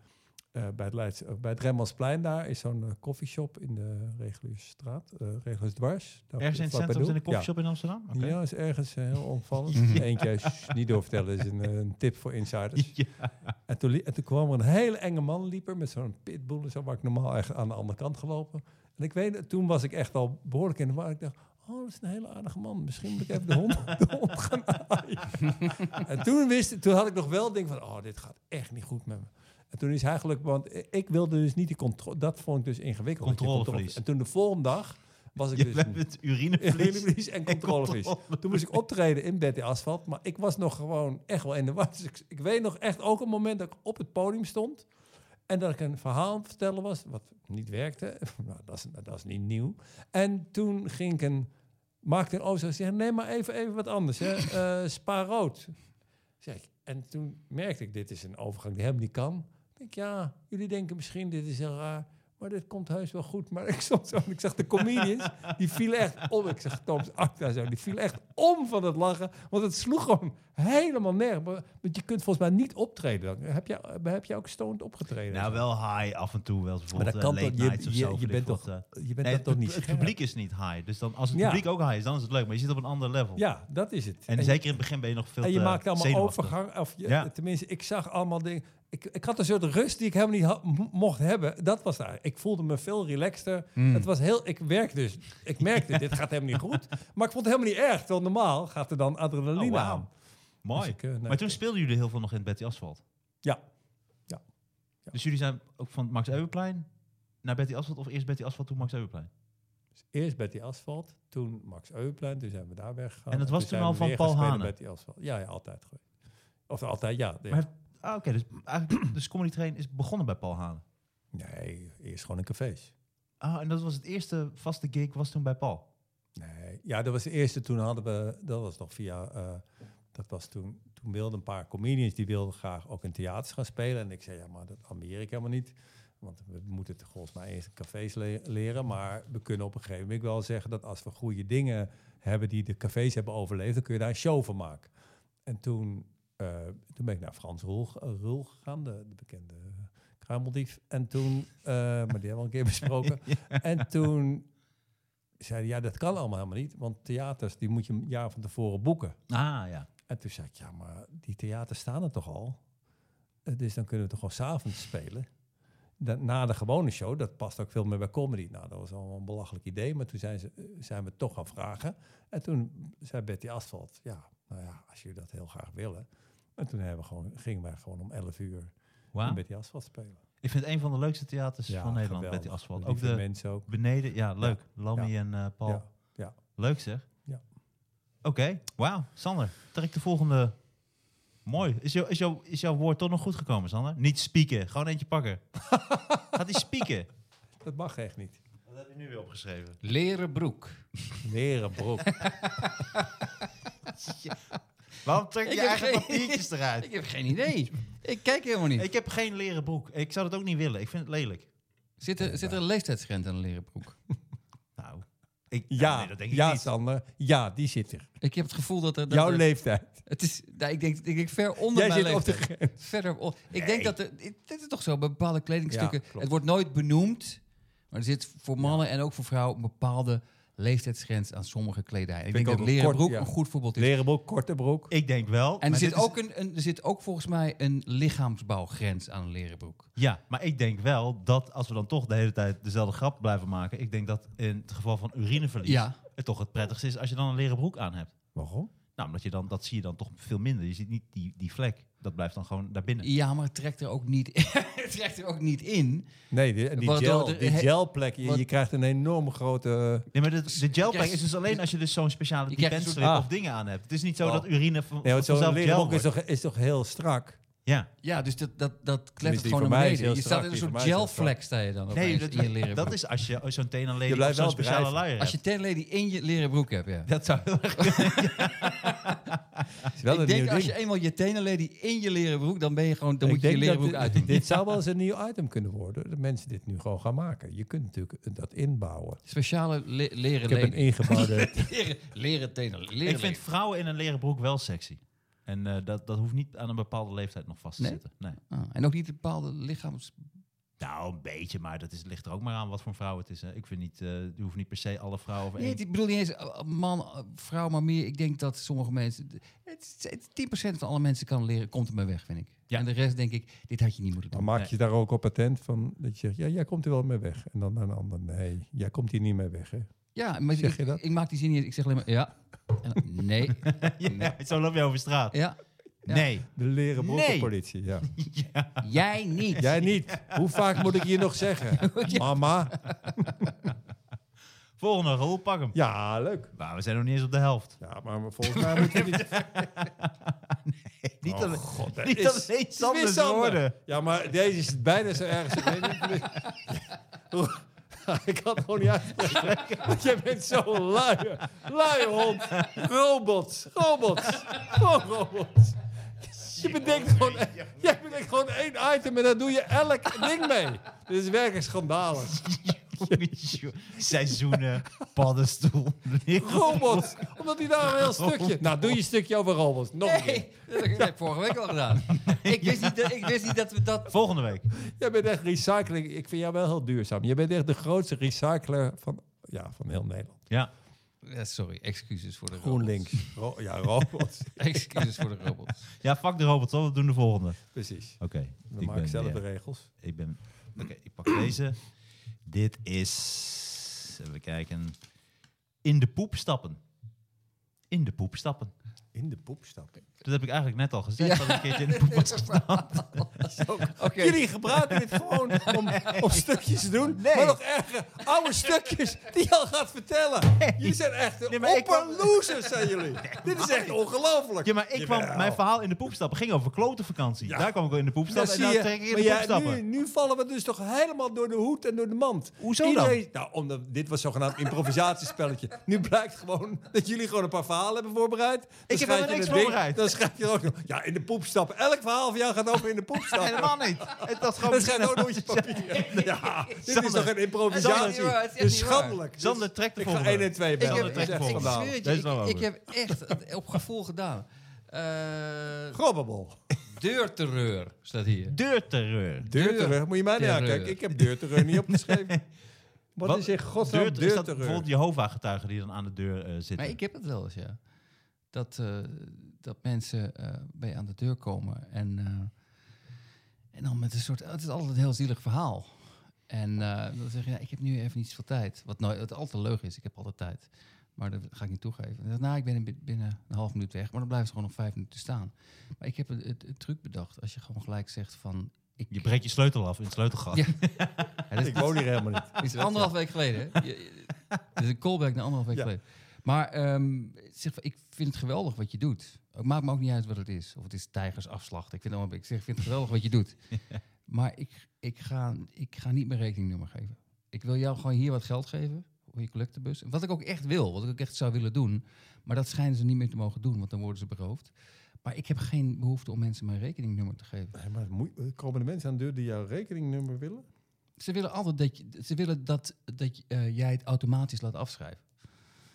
S3: eh, bij, het Leids, eh, bij het Remmelsplein daar is zo'n eh, koffieshop in de Regulusstraat, eh Regulusdwars. Daar
S2: Ergens in het
S3: vlakbij
S2: centrum, in
S3: Doel.
S2: de
S3: Ja.
S2: koffieshop in Amsterdam? Oké.
S3: Ja, is ergens eh, heel onvallend. Eentje, shh, niet doorvertellen, is een, eh, een tip voor insiders.
S2: Ja.
S3: En toen, li- en toen kwam er een hele enge man liepen met zo'n pitbull en zo, waar ik normaal echt aan de andere kant gelopen. En ik weet, het, toen was ik echt al behoorlijk in de war. Ik dacht, oh, dat is een hele aardige man. Misschien moet ik even de hond, de hond gaan aaien. En toen, wist, toen had ik nog wel het ding van, oh, dit gaat echt niet goed met me. En toen is hij gelukkig, want i- ik wilde dus niet die controle. Dat vond ik dus ingewikkeld. dat je
S2: Controleverlies.
S3: En toen de volgende dag was ik
S2: Je
S3: dus...
S2: hebt het urinevlies.
S3: Urinevlies en controlevlies.
S2: controlevlies.
S3: Toen moest ik optreden in Betty Asphalt. Maar ik was nog gewoon echt wel in de war. Dus ik, ik weet nog echt ook een moment dat ik op het podium stond. En dat ik een verhaal aan het vertellen was, wat niet werkte. Nou, dat is, dat is niet nieuw. En toen ging ik een... Maakte een ozo. Zei, nee, maar even, even wat anders. Hè. Eh, spa rood. Zeg ik, en toen merkte ik, dit is een overgang die helemaal niet kan. Ik denk, ja, jullie denken misschien, dit is heel raar. Maar dit komt heus wel goed. Maar ik stond zo, en ik zag de comedians, die vielen echt om. Ik zag Thomas Acta zo, die viel echt om van het lachen. Want het sloeg hem helemaal nergens. Maar- Want je kunt volgens mij niet optreden. Dan. Heb, jij, heb jij ook stoned opgetreden?
S2: Nou, wel high af en toe. Wel eens
S3: Maar dat
S2: bijvoorbeeld
S3: kan
S2: eh,
S3: toch,
S2: late
S3: je,
S2: nights of zo.
S3: je, je
S2: weet
S3: bent
S2: ik
S3: toch,
S2: wat, eh.
S3: je bent
S2: Nee,
S3: dat toch niet
S2: het
S3: scherp?
S2: publiek is niet high. Dus dan, als het
S3: Ja.
S2: publiek ook high is, dan is het leuk. Maar je zit op een ander level.
S3: Ja, dat is het.
S2: En, zeker in het begin ben je nog veel
S3: En je
S2: te
S3: maakt allemaal
S2: eh, zenuwachtig.
S3: overgang. Of je-
S2: Ja.
S3: Tenminste, ik zag allemaal dingen. Ik, ik had een soort rust die ik helemaal niet had- mo- mocht hebben. Dat was daar. Ik voelde me veel relaxter.
S2: Hmm.
S3: Het was heel. Ik werk dus. Ik merkte, dit gaat helemaal niet goed. Maar ik vond het helemaal niet erg. Terwijl normaal gaat er dan adrenaline
S2: Oh, wauw.
S3: aan.
S2: Mooi.
S3: Dus ik, eh, nee,
S2: maar toen
S3: ik-
S2: speelden jullie heel veel nog in het Betty Asphalt.
S3: Ja.
S2: Dus jullie zijn ook van het Max Euweplein naar Betty Asphalt of eerst Betty Asphalt, toen Max Euweplein?
S3: Dus eerst Betty Asphalt. Toen Max Euplein. Toen zijn we daar weggegaan.
S2: En dat was toen
S3: zijn
S2: al
S3: we
S2: van
S3: weer
S2: Paul
S3: gaan spelen
S2: Hane?
S3: Betty Asphalt. Ja, ja, altijd. geweest. Of altijd, ja. ja.
S2: Maar- Ah, oké. dus eigenlijk, dus Comedy Train is begonnen bij Paul Hane.
S3: Nee, eerst gewoon een cafés.
S2: Ah, en dat was het eerste vaste gig was toen bij Paul.
S3: Nee, ja, dat was de eerste. Toen hadden we, dat was nog via, eh, dat was toen, toen wilden een paar comedians, die wilden graag ook in theaters gaan spelen. En ik zei, ja, maar dat ambieer ik helemaal niet. Want we moeten het volgens mij eerst in cafés le- leren. Maar we kunnen op een gegeven moment wel zeggen dat als we goede dingen hebben die de cafés hebben overleefd, dan kun je daar een show van maken. En toen, eh, toen ben ik naar Frans Roel, eh, Roel gegaan, de, de bekende kruimeldief. En toen, eh, maar die hebben we al een keer besproken. En toen zeiden, ja, dat kan allemaal helemaal niet. Want theaters, die moet je een jaar van tevoren boeken.
S2: Ah, ja.
S3: En toen zei ik, ja, maar die theaters staan er toch al? Eh, Dus dan kunnen we toch gewoon s'avonds spelen? Da- na de gewone show, dat past ook veel meer bij comedy. Nou, dat was allemaal een belachelijk idee. Maar toen zijn, ze, eh, zijn we het toch gaan vragen. En toen zei Betty Asphalt, ja, nou ja, als jullie dat heel graag willen. En toen hebben we gewoon, gingen wij gewoon om 11 uur
S2: Wauw.
S3: Betty Asphalt spelen.
S2: Ik vind het een van de leukste theaters van Nederland,
S3: geweldig.
S2: Betty Asphalt. Ook
S3: Lieve
S2: de
S3: mensen ook.
S2: beneden, ja, leuk. Lammy en eh, Paul.
S3: Ja, ja.
S2: Leuk zeg.
S3: Ja.
S2: Oké, wauw. Sander, trek de volgende. Mooi. Is, jou, is, jou, is jouw woord toch nog goed gekomen, Sander? Niet spieken, gewoon eentje pakken. Gaat hij spieken?
S3: Dat mag echt niet.
S2: Dat heb je nu weer opgeschreven.
S4: Leren broek.
S3: Leren broek.
S2: Waarom trek
S4: Ik
S2: je
S4: heb
S2: eigen
S4: geen-
S2: papiertjes eruit?
S4: Ik heb geen idee. Ik kijk helemaal niet.
S2: Ik heb geen leren broek. Ik zou dat ook niet willen. Ik vind het lelijk.
S4: Zit er, zit er een leeftijdsgrens aan een leren broek?
S2: Nou, ik,
S3: Ja,
S2: nee, dat denk ik
S3: ja
S2: niet.
S3: Sander. Ja, die zit er.
S4: Ik heb het gevoel dat er... Dat
S3: Jouw
S4: er-
S3: leeftijd.
S4: Het is, nou, ik, denk, ik denk ver onder
S3: Jij
S4: mijn
S3: zit op de
S4: leeftijd.
S3: grens.
S4: Verder op- Ik denk dat... Er, dit is toch zo, bij bepaalde kledingstukken...
S3: Ja, klopt.
S4: het wordt nooit benoemd, maar er zit voor mannen en ook voor vrouwen... een bepaalde leeftijdsgrens aan sommige kledij. Ik
S3: ik
S4: denk dat
S3: ook een
S4: leren
S3: kort,
S4: broek
S3: ja.
S4: een goed voorbeeld is.
S3: Leren broek, korte broek.
S2: Ik denk wel.
S4: En er
S2: maar
S4: zit,
S2: dit is-
S4: ook een, een, er zit ook volgens mij een lichaamsbouwgrens aan een leren broek.
S2: Ja, maar ik denk wel dat als we dan toch de hele tijd dezelfde grap blijven maken... ik denk dat in het geval van urineverlies
S4: Ja.
S2: het toch het prettigste is als je dan een leren broek aan hebt.
S3: Waarom?
S2: Nou, omdat je dan, dat zie je dan toch veel minder. Je ziet niet die, die vlek. Dat blijft dan gewoon daarbinnen.
S4: Ja, maar het trekt er ook niet, het trekt er ook niet in.
S3: Nee, die, die
S4: Waardoor
S3: gel,
S4: de-
S3: die
S4: he-
S3: gelplek. Je,
S4: wat-
S3: je krijgt een enorm grote... eh,
S2: Nee, maar de, de gelpack
S4: krijgt-
S2: is dus alleen als je dus zo'n speciale
S4: je krijgt een Ah.
S2: defensestrip
S3: soort-
S2: of dingen aan hebt. Het is niet zo
S3: Oh.
S2: dat urine van,
S3: Nee, want zo'n
S2: vanzelf
S3: leren
S2: gel
S3: broek is
S2: wordt.
S3: toch, is toch heel strak?
S2: Ja.
S4: Ja, dus dat, dat, dat klettert
S3: Tenminste, die
S4: gewoon
S3: voor
S4: naar
S3: mij is
S4: beneden. Je
S3: heel strak,
S4: staat in een
S3: die voor
S4: soort
S3: mij is heel
S4: gelvlek, sta je dan
S2: Nee,
S4: opeens
S2: dat,
S4: in je leren
S2: dat
S4: broek.
S2: is als je zo'n teen aan leden of
S3: blijft
S2: zo'n
S3: wel
S2: speciale
S3: bedrijven.
S2: luier
S4: Als
S2: hebt.
S4: je tenlady in je leren broek hebt, ja.
S2: Dat zou heel erg...
S3: Het is wel
S4: Ah, ik
S3: een
S4: denk
S3: nieuw
S4: als je
S3: ding.
S4: eenmaal je tenenlady in je leren broek, dan ben je gewoon, dan
S3: Ik
S4: moet je je
S3: denk
S4: leren
S3: dat
S4: broek
S3: dit-
S4: uitdoen.
S3: Dit zou wel eens een nieuw item kunnen worden. Dat mensen dit nu gewoon gaan maken. Je kunt natuurlijk dat inbouwen.
S4: Speciale le-
S3: Ik heb
S4: leren
S3: een
S4: lady.
S3: ingebouwde...
S4: Leren, leren tenen, leren
S2: Ik vind
S4: lady.
S2: vrouwen in een leren broek wel sexy. En eh, dat, dat hoeft niet aan een bepaalde leeftijd nog vast te
S4: Nee?
S2: zitten. Nee.
S4: Ah, en ook niet een bepaalde lichaams...
S2: Nou, een beetje, maar dat is, ligt er ook maar aan wat voor een vrouw het is. Hè. Ik vind niet, eh je hoeft niet per se alle vrouwen over
S4: Nee,
S2: één...
S4: ik bedoel niet eens eh, man, eh, vrouw, maar meer. Ik denk dat sommige mensen... Het, het, 10% van alle mensen kan leren, komt er maar weg, vind ik.
S2: Ja.
S4: En de rest denk ik, dit had je niet moeten
S3: Dan
S4: doen.
S3: maak je daar ook op patent van dat je zegt, ja, jij komt er wel mee weg. En dan naar een ander, nee, jij komt hier niet mee weg. Hè?
S4: Ja, maar
S3: Zeg
S4: ik,
S3: je dat?
S4: ik maak die zin niet. Ik zeg alleen maar ja. En dan, nee.
S2: Ja, zo loop je over straat.
S4: Ja. Ja.
S2: Nee.
S3: De leren
S2: Nee.
S3: brokkenpolitie, ja.
S4: Jij niet.
S3: Jij niet. Hoe vaak moet ik hier nog zeggen? Mama.
S2: Volgende, Roel, pak hem.
S3: Ja, leuk.
S2: Maar we zijn nog niet eens op de helft.
S3: Ja, maar volgens mij moet je niet...
S2: Niet
S3: Oh,
S2: alleen,
S3: god, hè.
S2: niet
S3: Is-
S2: alleen Sanders woorden.
S3: Ja, maar deze is bijna zo erg. Ik, weet niet. Oeh, ik had het gewoon niet uitgesproken. Want jij bent zo'n luie, luie hond. Robots, robots, gewoon robots. Je bedenkt gewoon, jij bedenkt gewoon één item en daar doe je elk ding mee. Dit is werkelijk schandalig.
S2: Seizoenen, paddenstoel.
S3: Robots, omdat hij daar een heel stukje... Nou, doe je een stukje over robots. Nog een keer.
S4: Nee, dat heb ik dat heb ik vorige week al gedaan. Ik wist niet dat, ik wist niet dat we dat...
S2: Volgende week.
S3: Jij bent echt recycling. Ik vind jou wel heel duurzaam. Je bent echt de grootste recycler van, ja, van heel Nederland.
S2: Ja.
S4: Ja, sorry, excuses voor de robots.
S3: GroenLinks. Ro- ja, robots.
S4: Excuses voor de robots.
S2: ja, fuck de robots, hoor. we doen de volgende. Oké.
S3: Precies. We
S2: ik
S3: maken
S2: ben
S3: zelf
S2: weer-
S3: de regels.
S2: Ik ben. Oké, ik pak deze. Dit is. Even kijken. In de poep stappen. In de poep stappen.
S3: In de poep stappen.
S2: Dat heb ik eigenlijk net al gezegd. Dat ik een keertje in de poep was gestapt.
S4: Oké.
S3: Jullie gebruiken dit gewoon om, om stukjes te doen. Maar nog erger, oude stukjes die je al gaat vertellen. Jullie zijn echt
S2: Nee,
S3: nee,
S2: maar ik
S3: opperlosers, zijn jullie. Dit is echt ongelooflijk.
S2: Ja, maar ik kwam,
S3: Jawel.
S2: mijn verhaal in de poep stappen ging over klote vakantie.
S3: Ja.
S2: Daar kwam ik wel in de poep
S3: Dat
S2: stappen.
S3: zie
S2: En
S3: je.
S2: dan trek ik in
S3: Maar
S2: de poep
S3: ja,
S2: stappen.
S3: nu, nu vallen we dus toch helemaal door de hoed en door de mand.
S2: Hoezo dan?
S3: Nou, omdat dit was zogenaamd improvisatiespelletje. nu blijkt gewoon dat jullie gewoon een paar verhalen hebben voorbereid. Dan
S2: heb
S3: schrijf
S2: helemaal
S3: je
S2: niks
S3: dat ding,
S2: voorbereid.
S3: Dan schrijf je er ook nog. Ja, in de poep stappen. Elk verhaal van jou gaat over in de poep stappen.
S2: Helemaal niet. Het was gewoon.
S3: Dat schijnt ook nog op je papier. Ja, dit
S2: Sander.
S3: is toch een
S4: Het is
S3: improvisatie?
S4: niet waar, het
S3: Het
S4: is echt
S3: is
S4: niet waar.
S3: schandelijk.
S2: Sander, trek de
S3: Ik ga
S2: volgende.
S3: 1 en 2
S4: Ik
S3: bellen.
S4: heb,
S2: dat
S3: Het
S4: ik,
S3: is
S2: echt
S4: ik
S2: schandaal.
S4: zweer het je,
S2: Deze is wel
S4: ik,
S2: over.
S4: ik heb echt het op gevoel gedaan. Eh
S3: Grobbebol.
S4: deurterreur staat hier.
S2: Deurterreur.
S3: Deurterreur, moet je mij niet
S4: Deurterreur.
S3: aankijken. Ik heb deurterreur niet opgeschreven. Wat,
S2: Wat-
S3: is in godsnaam
S2: Deurt, is dat
S3: deurterreur?
S2: bijvoorbeeld Jehovah-getuigen die dan aan de deur eh, zitten?
S4: Maar ik heb het wel eens, ja. Dat, eh, dat mensen eh, bij je aan de deur komen en, eh, en dan met een soort... Het is altijd een heel zielig verhaal. En eh, dan zeg je, ja, ik heb nu even niet zoveel tijd. Wat, nou, wat altijd een leugen is, ik heb altijd tijd. Maar dat ga ik niet toegeven. En dan, nou, ik ben in bi- binnen een half minuut weg. Maar dan blijven ze gewoon nog vijf minuten staan. Maar ik heb een, een- een truc bedacht. Als je gewoon gelijk zegt van... Ik,
S2: Je breekt je sleutel af in het sleutelgat.
S4: Ja.
S3: Ja, Ik woon hier helemaal niet.
S4: Dit is anderhalf week geleden. hè? Je- je- Dit is een callback naar anderhalf week
S3: Ja.
S4: geleden. Maar ehm, zeg, van, ik vind het geweldig wat je doet. Het maakt me ook niet uit wat het is. Of het is tijgersafslacht. Ik vind, het allemaal- ik zeg, ik vind het geweldig wat je doet. Maar ik, ik, ga, ik ga niet mijn rekeningnummer geven. Ik wil jou gewoon hier wat geld geven. Voor je collectebus. Wat ik ook echt wil. Wat ik ook echt zou willen doen. Maar dat schijnen ze niet meer te mogen doen. Want dan worden ze beroofd. Maar ik heb geen behoefte om mensen mijn rekeningnummer te geven.
S3: Nee, maar moe- eh, komen de mensen aan de deur die jouw rekeningnummer willen?
S4: Ze willen altijd dat, je, ze willen dat, dat je, eh, jij het automatisch laat afschrijven.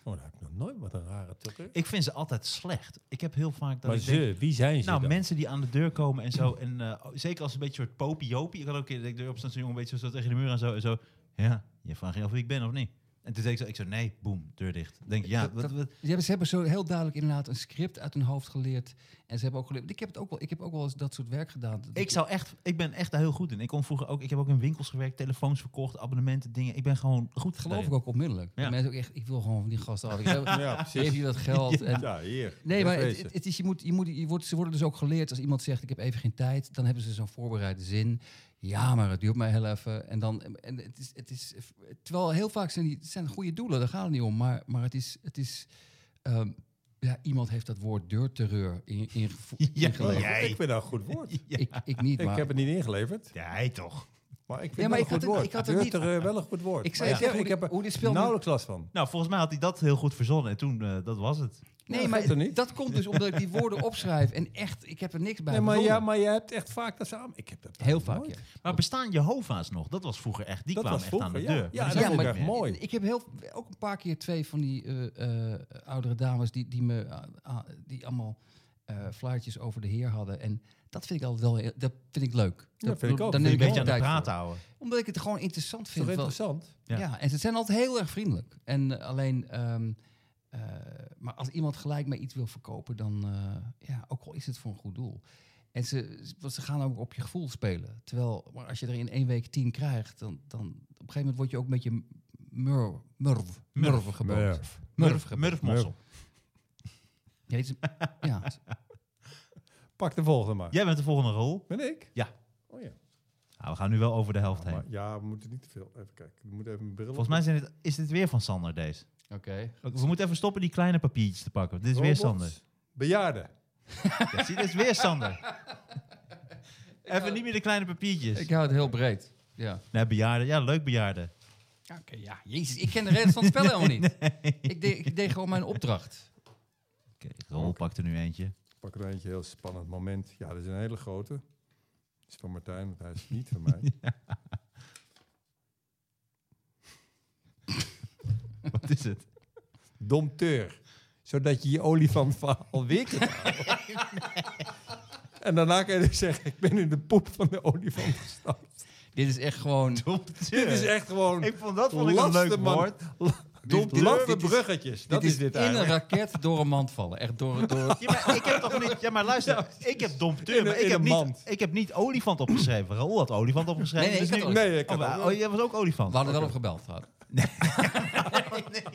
S3: Oh, dat heb ik nog nooit. Wat een rare tukker.
S2: Ik vind ze altijd slecht. Ik heb heel vaak dat
S3: Maar
S2: ik denk,
S3: ze, wie zijn ze
S2: Nou,
S3: dan?
S2: mensen die aan de deur komen en zo. En eh, zeker als een beetje soort popiopie. Ik had ook een keer dat ik erop stond, zo'n jongen, een beetje zo tegen de muur en zo. En zo ja, je vraagt je af wie ik ben of niet. En toen zei ik zo, ik zo, nee, boem, deur dicht. Denk je, ja,
S4: Dat-
S2: wat,
S4: dat-
S2: wat,
S4: Ze hebben, ze hebben zo heel duidelijk inderdaad een script uit hun hoofd geleerd. En ze hebben ook geleerd. Ik heb, het ook wel, ik heb ook wel eens dat soort werk gedaan. Dat
S2: ik zou echt, ik ben echt daar heel goed in. Ik kon vroeger ook, ik heb ook in winkels gewerkt, telefoons verkocht, abonnementen, dingen. Ik ben gewoon goed
S4: geloof
S2: geloof
S4: ik ook onmiddellijk.
S2: Ja.
S4: Dat Mensen ook echt, ik wil gewoon van die gasten af. Ik geef-
S3: Ja,
S4: Geef
S3: precies.
S4: je dat geld. En,
S3: Ja, hier.
S4: Nee, maar het,
S3: Wegwezen.
S4: het- het is, je moet, je moet, je wordt, ze worden dus ook geleerd als iemand zegt: Ik heb even geen tijd. Dan hebben ze zo'n voorbereide zin. Ja, maar het duurt mij heel even. En dan, en het is, het is, terwijl heel vaak zijn die het zijn goede doelen, daar gaat het niet om. Maar, maar het is, het is ehm, ja, iemand heeft dat woord deurterreur in, in,
S2: Ja,
S4: ingeleverd.
S2: jij.
S3: Ik vind dat een goed woord.
S4: Ik, ik niet,
S3: Ik
S4: maar
S3: heb het niet ingeleverd,
S2: Ja, hij toch.
S3: maar ik vind
S4: Ja, maar
S3: het wel
S4: ik had
S3: een goed
S4: het-
S3: woord.
S4: ik had het niet-
S3: Deurterreur, wel een goed woord.
S4: Ik zei
S3: Maar
S4: het echt, hoe die- hoe die speelt nu-
S3: nauwelijks last van.
S2: Nou, volgens mij had hij dat heel goed verzonnen. En toen, eh, dat was het.
S4: Nee,
S3: dat
S4: maar
S3: gaat toch niet?
S4: dat komt dus omdat ik die woorden opschrijf en echt, ik heb er niks bij.
S3: Nee, maar, ja,
S4: verzonnen.
S3: maar jij hebt echt vaak dat samen. Ik heb dat
S4: Heel
S3: nog
S4: vaak.
S3: nooit.
S4: ja.
S2: Maar bestaan Jehovah's nog? Dat was vroeger echt, die
S3: Dat
S2: kwamen
S3: was
S2: echt aan de
S3: vroeger, ja.
S2: deur.
S3: Ja,
S2: Maar
S3: dat
S2: die zijn
S3: is
S2: er
S3: ook
S2: niet
S3: echt
S2: meer.
S3: mooi.
S4: Dus Ik heb heel, ook een paar keer twee van die eh, eh, oudere dames die, die me ah, ah, die allemaal eh flyertjes over de heer hadden. En dat vind ik altijd wel heel- dat vind ik leuk. Dat,
S3: vind ik ook.
S4: Dan
S3: Vind
S4: neem
S2: Een
S4: ik
S2: beetje
S4: de
S2: aan de
S4: tijd
S2: praat
S4: voor.
S2: houden.
S4: Omdat ik het gewoon interessant
S3: Is toch
S4: vind. wel-
S3: interessant?
S2: Ja.
S4: ja. en ze zijn altijd heel erg vriendelijk. En eh, alleen, ehm, eh, maar als iemand gelijk mij iets wil verkopen, dan, eh, ja, ook al is het voor een goed doel. En ze, ze- want ze gaan ook op je gevoel spelen. Terwijl, maar als je er in één week tien krijgt, dan, dan op een gegeven moment word je ook een beetje mur, murf,
S2: Murf.
S4: murf geboord.
S3: Murf.
S4: Murf
S2: Murf,
S4: geboord.
S2: Murfmossel.
S4: Ja, het is- ja,
S3: Pak de volgende maar.
S2: Jij bent de volgende rol.
S3: Ben ik?
S2: Ja.
S3: Oh ja.
S2: Nou, we gaan nu wel over de helft heen.
S3: Maar ja, we moeten niet te veel. Even kijken. We moeten even mijn bril
S2: Volgens mij zijn dit, is dit weer van Sander deze.
S4: oké.
S2: We moeten even stoppen die kleine papiertjes te pakken. want Dit is weer Sander.
S3: Bejaarden.
S2: Ja, zie, dit is weer Sander. Even niet meer de kleine papiertjes.
S4: Ik hou het heel breed. Ja.
S2: Nee, bejaarden. Ja, leuk bejaarden.
S4: Oké, ja. Jezus, ik ken de rest van het spel helemaal niet. Ik, deed, ik deed gewoon mijn opdracht.
S2: Oké, Rol pakt er nu eentje.
S3: pak er eentje, heel spannend moment. Ja, dat is een hele grote. Dat is van Martijn, want hij is niet van mij.
S2: Wat is het?
S3: Domteur. Zodat je je olifantverhaal weer kan En daarna kan je dus zeggen, ik ben in de poep van de olifant gestapt.
S4: Dit is echt gewoon...
S3: Dit is echt gewoon...
S2: Ik vond dat vond ik een
S3: Laste
S2: leuk
S3: man.
S2: woord.
S4: Dit-
S3: Laffe
S4: dit is-
S3: bruggetjes, dat
S4: dit
S3: is dit
S4: in een
S3: eigenlijk.
S4: raket door een mand vallen. Echt door... door
S2: Ja, maar ik heb toch niet... Ja, maar luister. ik heb dompteur,
S3: In
S2: maar
S3: een-
S2: ik
S3: in
S2: heb,
S3: een
S2: niet,
S3: mand.
S2: ik heb niet olifant opgeschreven. Raoul had olifant opgeschreven.
S4: Nee,
S2: dus
S4: nee, ik had
S2: nu-
S4: olifant.
S3: Nee, ik had
S2: Oh,
S3: ook-
S2: oh, jij was ook olifant?
S4: We hadden wel op gebeld. we hadden-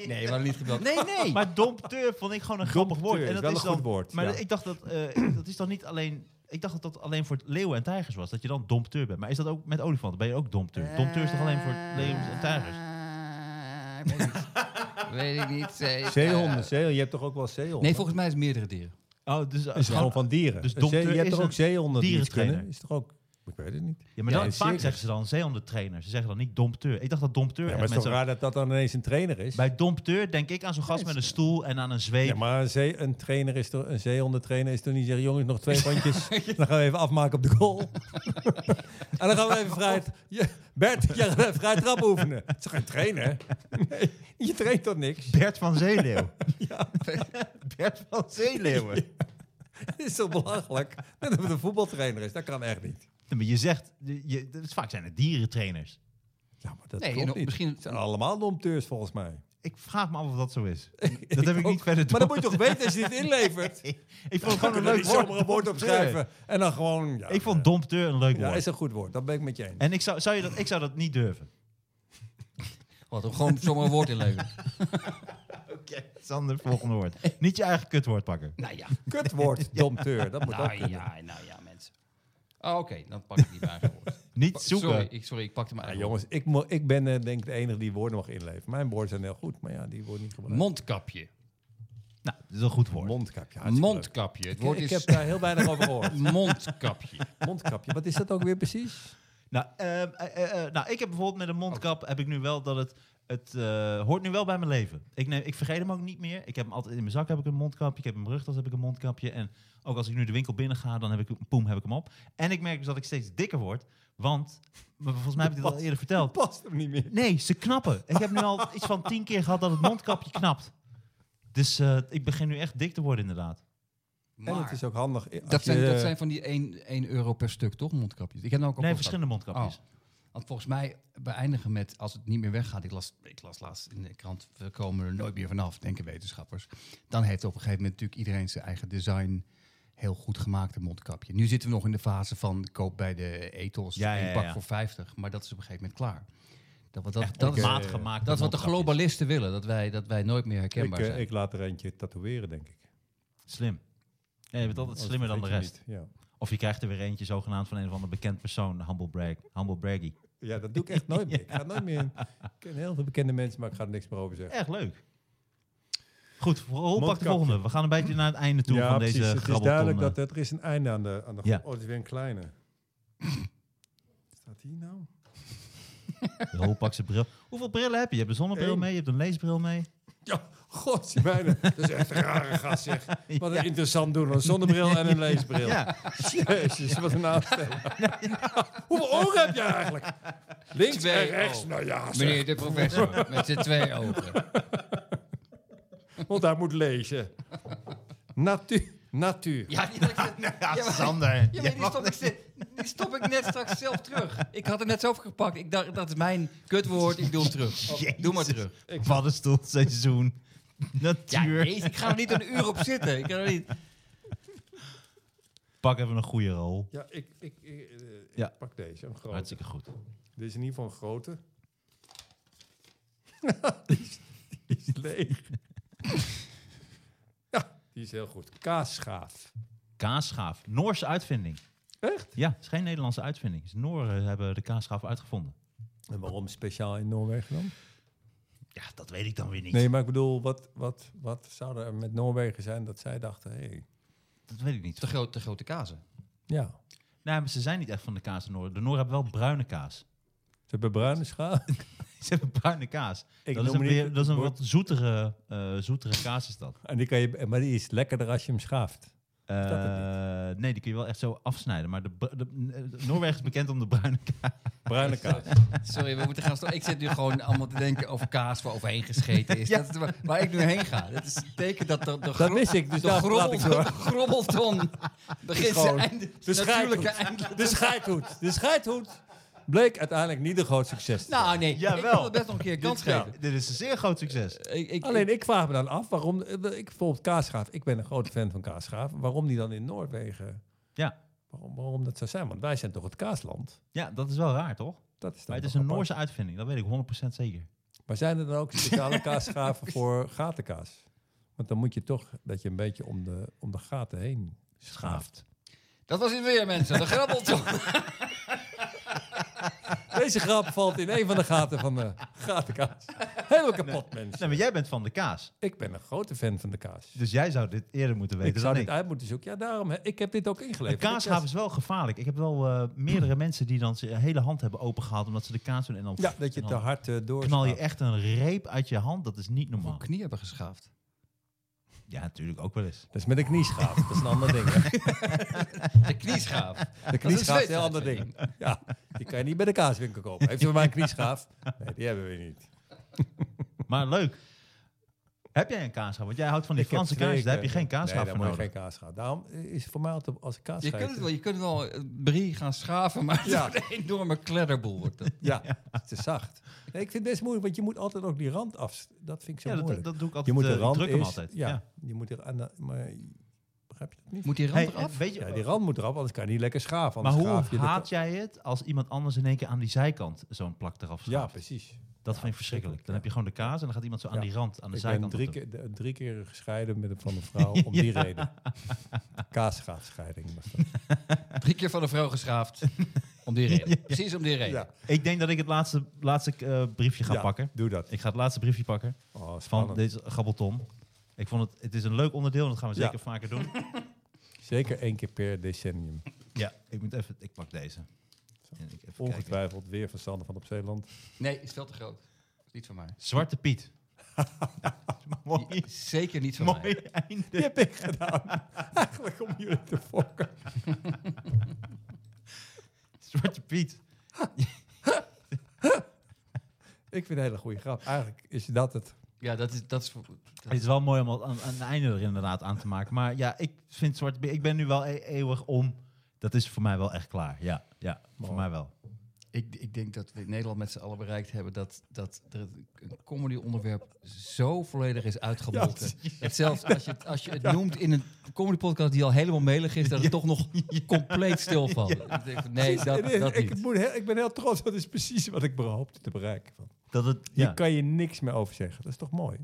S4: Nee, we hadden niet gebeld. Nee, nee.
S2: Maar dompteur vond ik gewoon een grappig
S3: Dompteur
S2: woord. En dat
S3: is wel
S2: is
S3: een
S2: dan,
S3: goed woord,
S2: Maar
S3: ja.
S2: ik dacht dat, eh, dat is dan niet alleen... Ik dacht dat dat alleen voor leeuwen en tijgers was. Dat je dan dompteur bent. Maar is dat ook met olifanten? Ben je ook dompteur? dompteur is toch alleen voor leeuwen en tijgers?
S4: Eh, weet ik niet. Weet ik niet. zeker.
S3: Zeehonden, zeehonden. Je hebt toch ook wel zeehonden?
S4: Nee, volgens mij is het meerdere dieren.
S2: Oh, dus...
S3: Het is gewoon van dieren.
S2: dus
S3: Een
S2: dompteur
S3: zee- je hebt
S2: is
S3: toch
S2: een
S3: ook zeehonden die iets
S2: dierentrainer?
S3: kunnen? Is toch ook... Ik weet het niet.
S2: Ja, maar
S4: Ja,
S2: dan,
S3: en
S2: vaak
S3: circus.
S2: zeggen ze dan zeehondentrainer. Ze zeggen dan niet dompteur. Ik dacht dat dompteur...
S3: Ja, maar
S2: echt
S3: het is toch
S2: met zo'n-
S3: raar dat dat dan ineens een trainer is?
S2: bij dompteur denk ik aan zo'n gast met een stoel en aan een zweep.
S3: Ja, maar een, zee, een trainer is toch, een zeehondentrainer is toch niet zeggen, jongens, nog twee rondjes. dan gaan we even afmaken op de goal. en dan gaan we even vrij... Ja, Bert, jij gaat even vrij trap oefenen. Het is toch geen trainer? Nee, je traint toch niks?
S2: Bert van Zeeleeuw. Bert van Zeeleeuwen.
S3: Het is toch belachelijk? Net of het een voetbaltrainer is, dat kan echt niet.
S2: Nee, maar je zegt... Je, je- dat is- vaak zijn het dierentrainers.
S3: Ja, maar dat
S4: Nee,
S3: klopt
S4: en
S3: niet. Oh.
S4: misschien-
S3: Het zijn allemaal domteurs volgens mij.
S2: Ik vraag me af of dat zo is. Dat heb ik niet
S3: Ook-
S2: verder
S3: Maar dat moet je toch weten als je dit inlevert?
S2: Ik vond het
S3: Dan
S2: gewoon een
S3: kunnen we
S2: leuk
S3: niet zomaar een woord
S2: dompteur.
S3: opschrijven. En dan gewoon... Ja,
S2: Ik vond dompteur een leuk
S3: Ja,
S2: woord.
S3: is een goed woord. Dat ben ik met je eens.
S2: En ik zou, zou je dat, ik zou dat niet durven.
S4: Wat, om gewoon zomaar een woord inleveren.
S2: Oké. Sander, volgende woord. Niet je eigen kutwoord pakken.
S4: Nou ja.
S3: Kutwoord, domteur. Dat moet ook
S4: Nou ja, nou ja, mensen. Oh, Oké, dan pak ik die bij woord.
S2: Niet zoeken.
S4: Oh, Sorry, ik, sorry, ik pakte mijn
S3: Ja,
S4: eigen
S3: jongens, ik, mo- ik ben eh, denk ik de enige die woorden mag inleveren. Mijn woorden zijn heel goed, maar ja, die worden niet
S4: woord.
S3: gebruikt.
S4: Mondkapje.
S2: Nou, dat is een goed woord.
S3: Mondkapje. hartstikke leuk.
S4: Mondkapje. Het woord
S3: Ik, ik
S4: is
S3: heb daar heel weinig over gehoord.
S4: mondkapje.
S3: Mondkapje. Wat is dat ook weer precies?
S2: Nou, ehm, eh, eh, eh, nou, ik heb bijvoorbeeld met een mondkap
S3: Oh.
S2: heb ik nu wel dat het. Het eh, hoort nu wel bij mijn leven. Ik, neem, ik vergeet hem ook niet meer. Ik heb hem altijd in mijn zak heb ik een mondkapje. Ik heb in mijn rugtas heb ik een mondkapje. En ook als ik nu de winkel binnen ga, dan heb ik poem heb ik hem op. En ik merk dus dat ik steeds dikker word. Want, maar volgens mij heb ik dit al eerder verteld.
S3: Past hem niet meer.
S2: Nee, ze knappen. Ik heb nu al iets van tien keer gehad dat het mondkapje knapt. Dus eh, ik begin nu echt dik te worden, inderdaad.
S3: En het
S4: Maar
S3: is ook handig. eh, als
S4: dat zijn,
S3: je,
S4: dat zijn van die 1, 1 euro per stuk, toch? Mondkapjes. Ik heb nou ook al
S2: Nee,
S4: gehad.
S2: verschillende mondkapjes.
S4: Oh. Want volgens mij beëindigen met, als het niet meer weggaat, ik las, ik las laatst in de krant, we komen er nooit meer vanaf, denken wetenschappers. Dan heeft op een gegeven moment natuurlijk iedereen zijn eigen design heel goed gemaakte mondkapje. Nu zitten we nog in de fase van koop bij de ethos,
S2: Ja, ja,
S4: een pak
S2: ja.
S4: voor 50, maar dat is op een gegeven moment klaar. Dat, wat- dat,
S3: Oh,
S2: Echt
S4: dat,
S2: op
S4: is,
S2: maat gemaakt.
S4: dat is wat de globalisten willen, dat wij, dat wij nooit meer
S3: ik,
S4: herkenbaar
S3: eh,
S4: zijn.
S3: ik laat er eentje tatoeëren, denk ik.
S2: Slim. Nee, je bent altijd
S3: Anders
S2: slimmer dan de
S3: vergeet
S2: rest.
S3: Oh, je niet, Ja.
S2: Of je krijgt er weer eentje zogenaamd van een of ander bekend persoon, de humble brag, humble braggy.
S3: ja, dat doe ik echt nooit meer. Ik ga nooit meer. in- Ik ken heel veel bekende mensen, maar ik ga er niks meer over zeggen.
S2: Echt leuk. Goed, Roel, pak de
S3: Mondkapje.
S2: volgende. We gaan een beetje naar het einde toe van deze
S3: Het is
S2: grabbelton. eh.
S3: duidelijk dat er is een einde aan de... Aan de
S2: Ja.
S3: Oh, het is weer een kleine. Staat hier nou?
S2: eh, Roel, pak zijn bril. Hoeveel brillen heb je? Je hebt een zonnebril
S3: Eén.
S2: mee, je hebt een leesbril mee.
S3: Ja, god, bijna. Dat is echt een rare gast, zeg. Wat een
S2: Ja.
S3: interessant doen. Een zonnebril en een leesbril.
S2: Ja.
S3: Jezus, wat een aanstelling. Hoeveel ogen heb je eigenlijk? Links
S4: Twee
S3: en rechts.
S2: Oh.
S4: ogen.
S3: Nou ja, zeg.
S4: Meneer de professor, met zijn twee ogen.
S3: Want hij moet lezen. Natuur. Natuur.
S4: Ja, die had ik net-
S2: Ja,
S4: maar-
S2: Sander.
S4: Ja, maar die stop, ik, ze- die stop ik net straks zelf terug. Ik had hem net zelf gepakt. Ik dacht, dat is mijn kutwoord. Ik doe hem terug. Doe maar terug.
S2: Paddenstoelseizoen.
S4: Ja,
S2: Natuur.
S4: jezus, ik ga er niet een uur op zitten. Ik kan er niet...
S2: Pak even een goede rol.
S3: Ja, ik, ik, ik, eh, ik
S2: Ja.
S3: pak deze. Een grote.
S2: Hartstikke goed.
S3: Dit is in ieder geval een grote. die, is, die is leeg. ja, die is heel goed. Kaasschaaf.
S2: Kaasschaaf. Noorse uitvinding.
S3: Echt?
S2: Ja, het is geen Nederlandse uitvinding. Dus Nooren hebben de kaasschaaf uitgevonden.
S3: En waarom speciaal in Noorwegen dan?
S2: Ja, dat weet ik dan weer niet.
S3: Nee, maar ik bedoel, wat, wat, wat zou er met Noorwegen zijn dat zij dachten, hé, hey,
S2: Dat weet ik niet.
S4: Te, groot, te grote kazen.
S3: ja,
S2: Nee, maar ze zijn niet echt van de kaas in Noorden. De Noorden hebben wel bruine kaas.
S3: ze hebben bruine schaaf.
S2: Ze hebben bruine kaas.
S3: Ik
S2: dat, is
S3: noem
S2: een
S3: niet
S2: weer,
S3: het
S2: dat is een
S3: woord.
S2: wat zoetere, eh, zoetere kaas is dat.
S3: En die kan je, maar die is lekkerder als je hem schaaft.
S2: Eh,
S3: dat het
S2: nee, die kun je wel echt zo afsnijden. Maar de, br- de- eh, Noorwegen is bekend om de bruine kaas.
S3: Bruine kaas.
S4: Sorry, we moeten gaan stoppen. Ik zit nu gewoon allemaal te denken over kaas waar overheen gescheten is.
S2: Ja.
S4: Dat is waar, waar ik nu heen ga. Dat is een teken dat de, de,
S3: Dat
S4: gro-
S3: wist ik, dus
S4: de
S3: daar
S4: grobbel-
S3: laat ik door.
S4: grobbelton begint zijn
S3: Gewoon
S4: einde,
S3: de
S4: natuurlijke
S3: scheidhoed.
S4: einde.
S3: De scheidhoed. De scheidhoed bleek uiteindelijk niet een groot succes. te zijn.
S4: Nou nee, ik
S2: Jawel.
S4: wil het best nog een keer een kans
S2: Ja,
S4: geven.
S2: dit is een zeer groot succes.
S4: Ik, ik,
S3: Alleen ik vraag me dan af waarom. eh, Ik bijvoorbeeld kaasschaaf. Ik ben een grote fan van kaasschaaf. Waarom die dan in Noorwegen?
S2: Ja.
S3: Waarom, waarom dat zou zijn? Want wij zijn toch het kaasland.
S2: Ja, dat is wel raar, toch?
S3: Dat is dan
S2: Maar het is
S3: toch
S2: een
S3: apart.
S2: Noorse uitvinding, dat weet ik 100% zeker.
S3: Maar zijn er dan ook speciale kaasschaven voor gatenkaas? Want dan moet je toch dat je een beetje om de, om de gaten heen schaaft.
S4: Dat was het weer, mensen. De grabbelton.
S3: Deze grap valt in een van de gaten van de gatenkaas. Helemaal kapot, mensen.
S2: Nee, maar jij bent van de kaas.
S3: Ik ben een grote fan van de kaas.
S2: Dus jij zou dit eerder moeten weten
S3: Ik zou
S2: dan
S3: dit
S2: ik.
S3: uit moeten zoeken. Ja, daarom. hè, Ik heb dit ook
S2: Een
S3: ingeleverd.
S2: kaashaven is wel gevaarlijk. Ik heb wel eh, meerdere mensen die dan zijn hele hand hebben opengehaald omdat ze de kaas doen. En dan,
S3: Ja, dat je
S2: en
S3: te
S2: dan
S3: hard eh, door.
S2: knal je echt een reep uit je hand. Dat is niet normaal.
S4: knie hebben geschaafd.
S2: Ja, natuurlijk ook wel eens.
S3: Dat is met een knieschaaf. Dat is een ander ding. hè.
S4: De knieschaaf.
S3: De knieschaaf is een heel ander
S4: zweetuitzending.
S3: ding. Ja, die kan je niet bij de kaaswinkel kopen. Heeft u maar een knieschaaf? Nee, die hebben we niet.
S2: Maar leuk. Heb jij een kaashaven? Want jij houdt van die
S3: Ik heb
S2: Franse
S3: twee
S2: kaas. Daar heb je
S3: keer-
S2: geen kaashaaf
S3: nee,
S2: voor
S3: daar moet
S2: nodig.
S3: je geen kaashaaf. Daarom is voor mij altijd als ik kaas
S4: Je kunt, het wel, je kunt wel eh, brie gaan schaven, maar
S3: Ja.
S4: het wordt een enorme kledderboel. Wordt het.
S3: Ja, het is te zacht. Nee, ik vind het best moeilijk, want je moet altijd ook die rand af. Dat vind ik zo
S2: Ja, dat,
S3: moeilijk.
S2: dat doe ik altijd.
S3: je moet
S2: eh,
S3: de
S2: ik
S3: rand
S2: druk hem
S3: eerst-
S2: altijd.
S3: Ja,
S2: Ja.
S3: je moet er aan de, maar begrijp je dat niet?
S4: Moet die rand
S2: Hey, en
S4: eraf?
S2: weet je,
S3: Ja, die rand moet eraf, anders kan je niet lekker schaven.
S2: maar
S3: anders
S2: hoe
S3: schaaf je de-
S2: haat jij het als iemand anders in één keer aan die zijkant zo'n plak eraf
S3: Ja,
S2: schaaft?
S3: precies.
S2: dat vind ik verschrikkelijk. Dan heb je gewoon de kaas en dan gaat iemand zo aan
S3: Ja.
S2: die rand, aan de
S3: ik ben
S2: zijkant.
S3: drie
S2: dat doen.
S3: keer, de- drie keer gescheiden met een, van een vrouw om die reden. Kaasgaatscheiding was dat. eh,
S4: Drie keer van een vrouw geschaafd. Om die reden. Precies om die reden.
S3: Ja,
S2: Ik denk dat ik het laatste, laatste eh, briefje ga
S3: Ja,
S2: pakken.
S3: doe dat.
S2: Ik ga het laatste briefje pakken
S3: Oh,
S2: van
S3: spannend.
S2: deze gabbelton. Ik vond het, het is een leuk onderdeel en dat gaan we
S3: Ja.
S2: zeker vaker doen.
S3: Zeker één keer per decennium.
S2: ja, ik moet even, ik pak deze. En ik even kijken.
S3: Ongetwijfeld weer van Sander van op Zeeland.
S4: Nee, is veel te groot. Is Niet van mij.
S2: Zwarte Piet. Nou, mooi,
S4: Is Zeker niet van
S2: mooi
S4: mij.
S2: einde.
S3: Die heb ik gedaan. Eigenlijk om jullie te fokken.
S2: Zwarte Piet.
S3: Ik vind het een hele goede grap. Eigenlijk is dat het.
S4: Ja, dat is... Dat is voor-
S2: Het is wel mooi om al een, een einde er inderdaad aan te maken. Maar ja, ik vind Zwarte Piet... Ik ben nu wel e- eeuwig om. Dat is voor mij wel echt klaar. Ja, ja voor
S3: Mooi.
S2: mij wel.
S4: ik, ik denk dat we in Nederland met z'n allen bereikt hebben... dat, dat er een comedy onderwerp zo volledig is uitgemolken. dat zelfs als je het, als je het noemt in een comedy podcast die al helemaal melig is... dat het toch nog compleet stilvalt. Ik denk van, Nee,
S3: Precies,
S4: dat,
S3: het is-
S4: dat
S3: ik,
S4: niet.
S3: moet heel- ik ben heel trots. Dat is precies wat ik hoopte te bereiken. Van.
S2: Dat het,
S3: Hier
S2: ja.
S3: kan je niks meer over zeggen. Dat is toch mooi?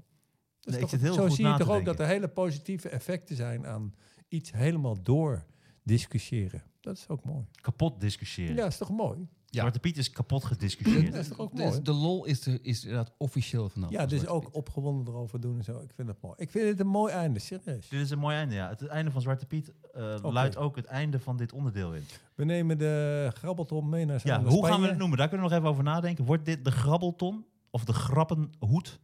S3: Dat is
S2: Nee, ik
S3: toch-
S2: zit heel
S3: zo
S2: goed
S3: zie je
S2: na te
S3: toch ook
S2: denken.
S3: dat er hele positieve effecten zijn aan iets helemaal door discussiëren. Dat is ook mooi.
S2: kapot discussiëren.
S3: Ja, is toch mooi?
S4: Ja.
S2: Zwarte Piet is kapot
S3: Dat
S2: gediscussieerd.
S3: is toch ook
S4: Dus
S3: mooi?
S4: de lol is, de, is inderdaad officieel vanaf.
S3: Ja, dus ook opgewonden erover doen en zo. Ik vind het mooi. Ik vind het een mooi einde, serieus.
S2: Dit is een mooi einde, ja. Het einde van Zwarte Piet eh,
S3: Oké.
S2: luidt ook het einde van dit onderdeel in.
S3: We nemen de grabbelton mee naar zijn
S2: Ja, hoe gaan we het noemen? Daar kunnen we nog even over nadenken. Wordt dit de grabbelton of de grappenhoed?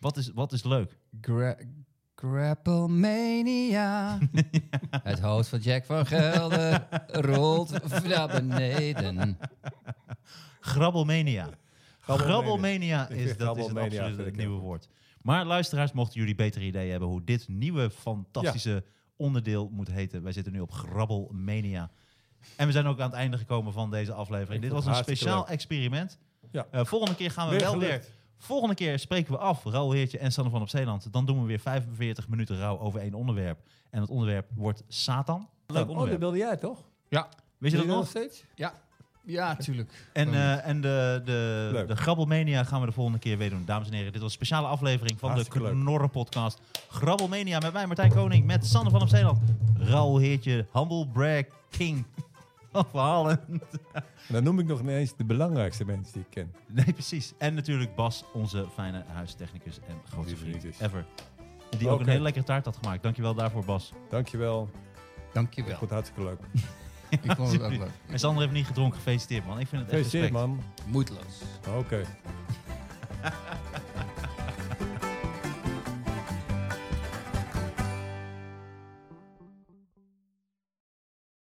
S2: Wat is, wat is leuk?
S4: Gra Grapplemania. Het hoofd van Jack van Gelder rolt naar beneden.
S2: Grabbelmania.
S3: Grabbelmania.
S2: Grabbelmania
S3: Ik
S2: is,
S3: vind
S2: dat is het
S3: grabbelmania
S2: absoluut
S3: vind
S2: het
S3: ik
S2: nieuwe
S3: heel goed.
S2: woord. Maar luisteraars, mochten jullie betere ideeën hebben hoe dit nieuwe fantastische onderdeel moet heten. Wij zitten nu op Grabbelmania. En we zijn ook aan het einde gekomen van deze aflevering.
S3: Ik
S2: Dit was
S3: vond het
S2: een
S3: hartstikke
S2: speciaal
S3: leuk.
S2: experiment.
S3: Ja.
S2: Eh, volgende keer gaan we
S3: Weer
S2: wel
S3: gelukt.
S2: weer... Volgende keer spreken we af, Raoul Heertje en Sanne van op Zeeland. Dan doen we weer 45 minuten rouw over één onderwerp. En het onderwerp wordt Satan. Leuk
S3: Oh, dat
S2: onderwerp.
S3: wilde jij toch?
S4: Ja,
S2: Weet je dat nog?
S3: steeds?
S4: ja, ja, tuurlijk.
S2: En, eh, en de, de,
S3: Oh. Leuk.
S2: de Grabbelmania gaan we de volgende keer weer doen. Dames en heren, dit was een speciale aflevering van
S3: Hartstikke
S2: de
S3: leuk.
S2: Knorren podcast. Grabbelmania met mij, Martijn Koning, met Sander van op Zeeland. Raoul Heertje, Humble Brag King. Van Verhalen.
S3: En dan noem ik nog ineens de belangrijkste mensen die ik ken.
S2: Nee, precies. En natuurlijk Bas, onze fijne huistechnicus en grootste
S3: Die
S2: vriend
S3: vriend is.
S2: ever. Die ook een
S3: Oké.
S2: hele lekkere taart had gemaakt. Dankjewel daarvoor, Bas.
S3: Dankjewel. Ik
S4: Dankjewel.
S3: vond het hartstikke leuk.
S4: Ik vond het ook leuk.
S2: En Sander heeft niet gedronken. Gefeliciteerd, man. Ik vind het echt
S3: Gefeliciteerd
S2: respect.
S3: man.
S4: Moedeloos.
S3: Oké.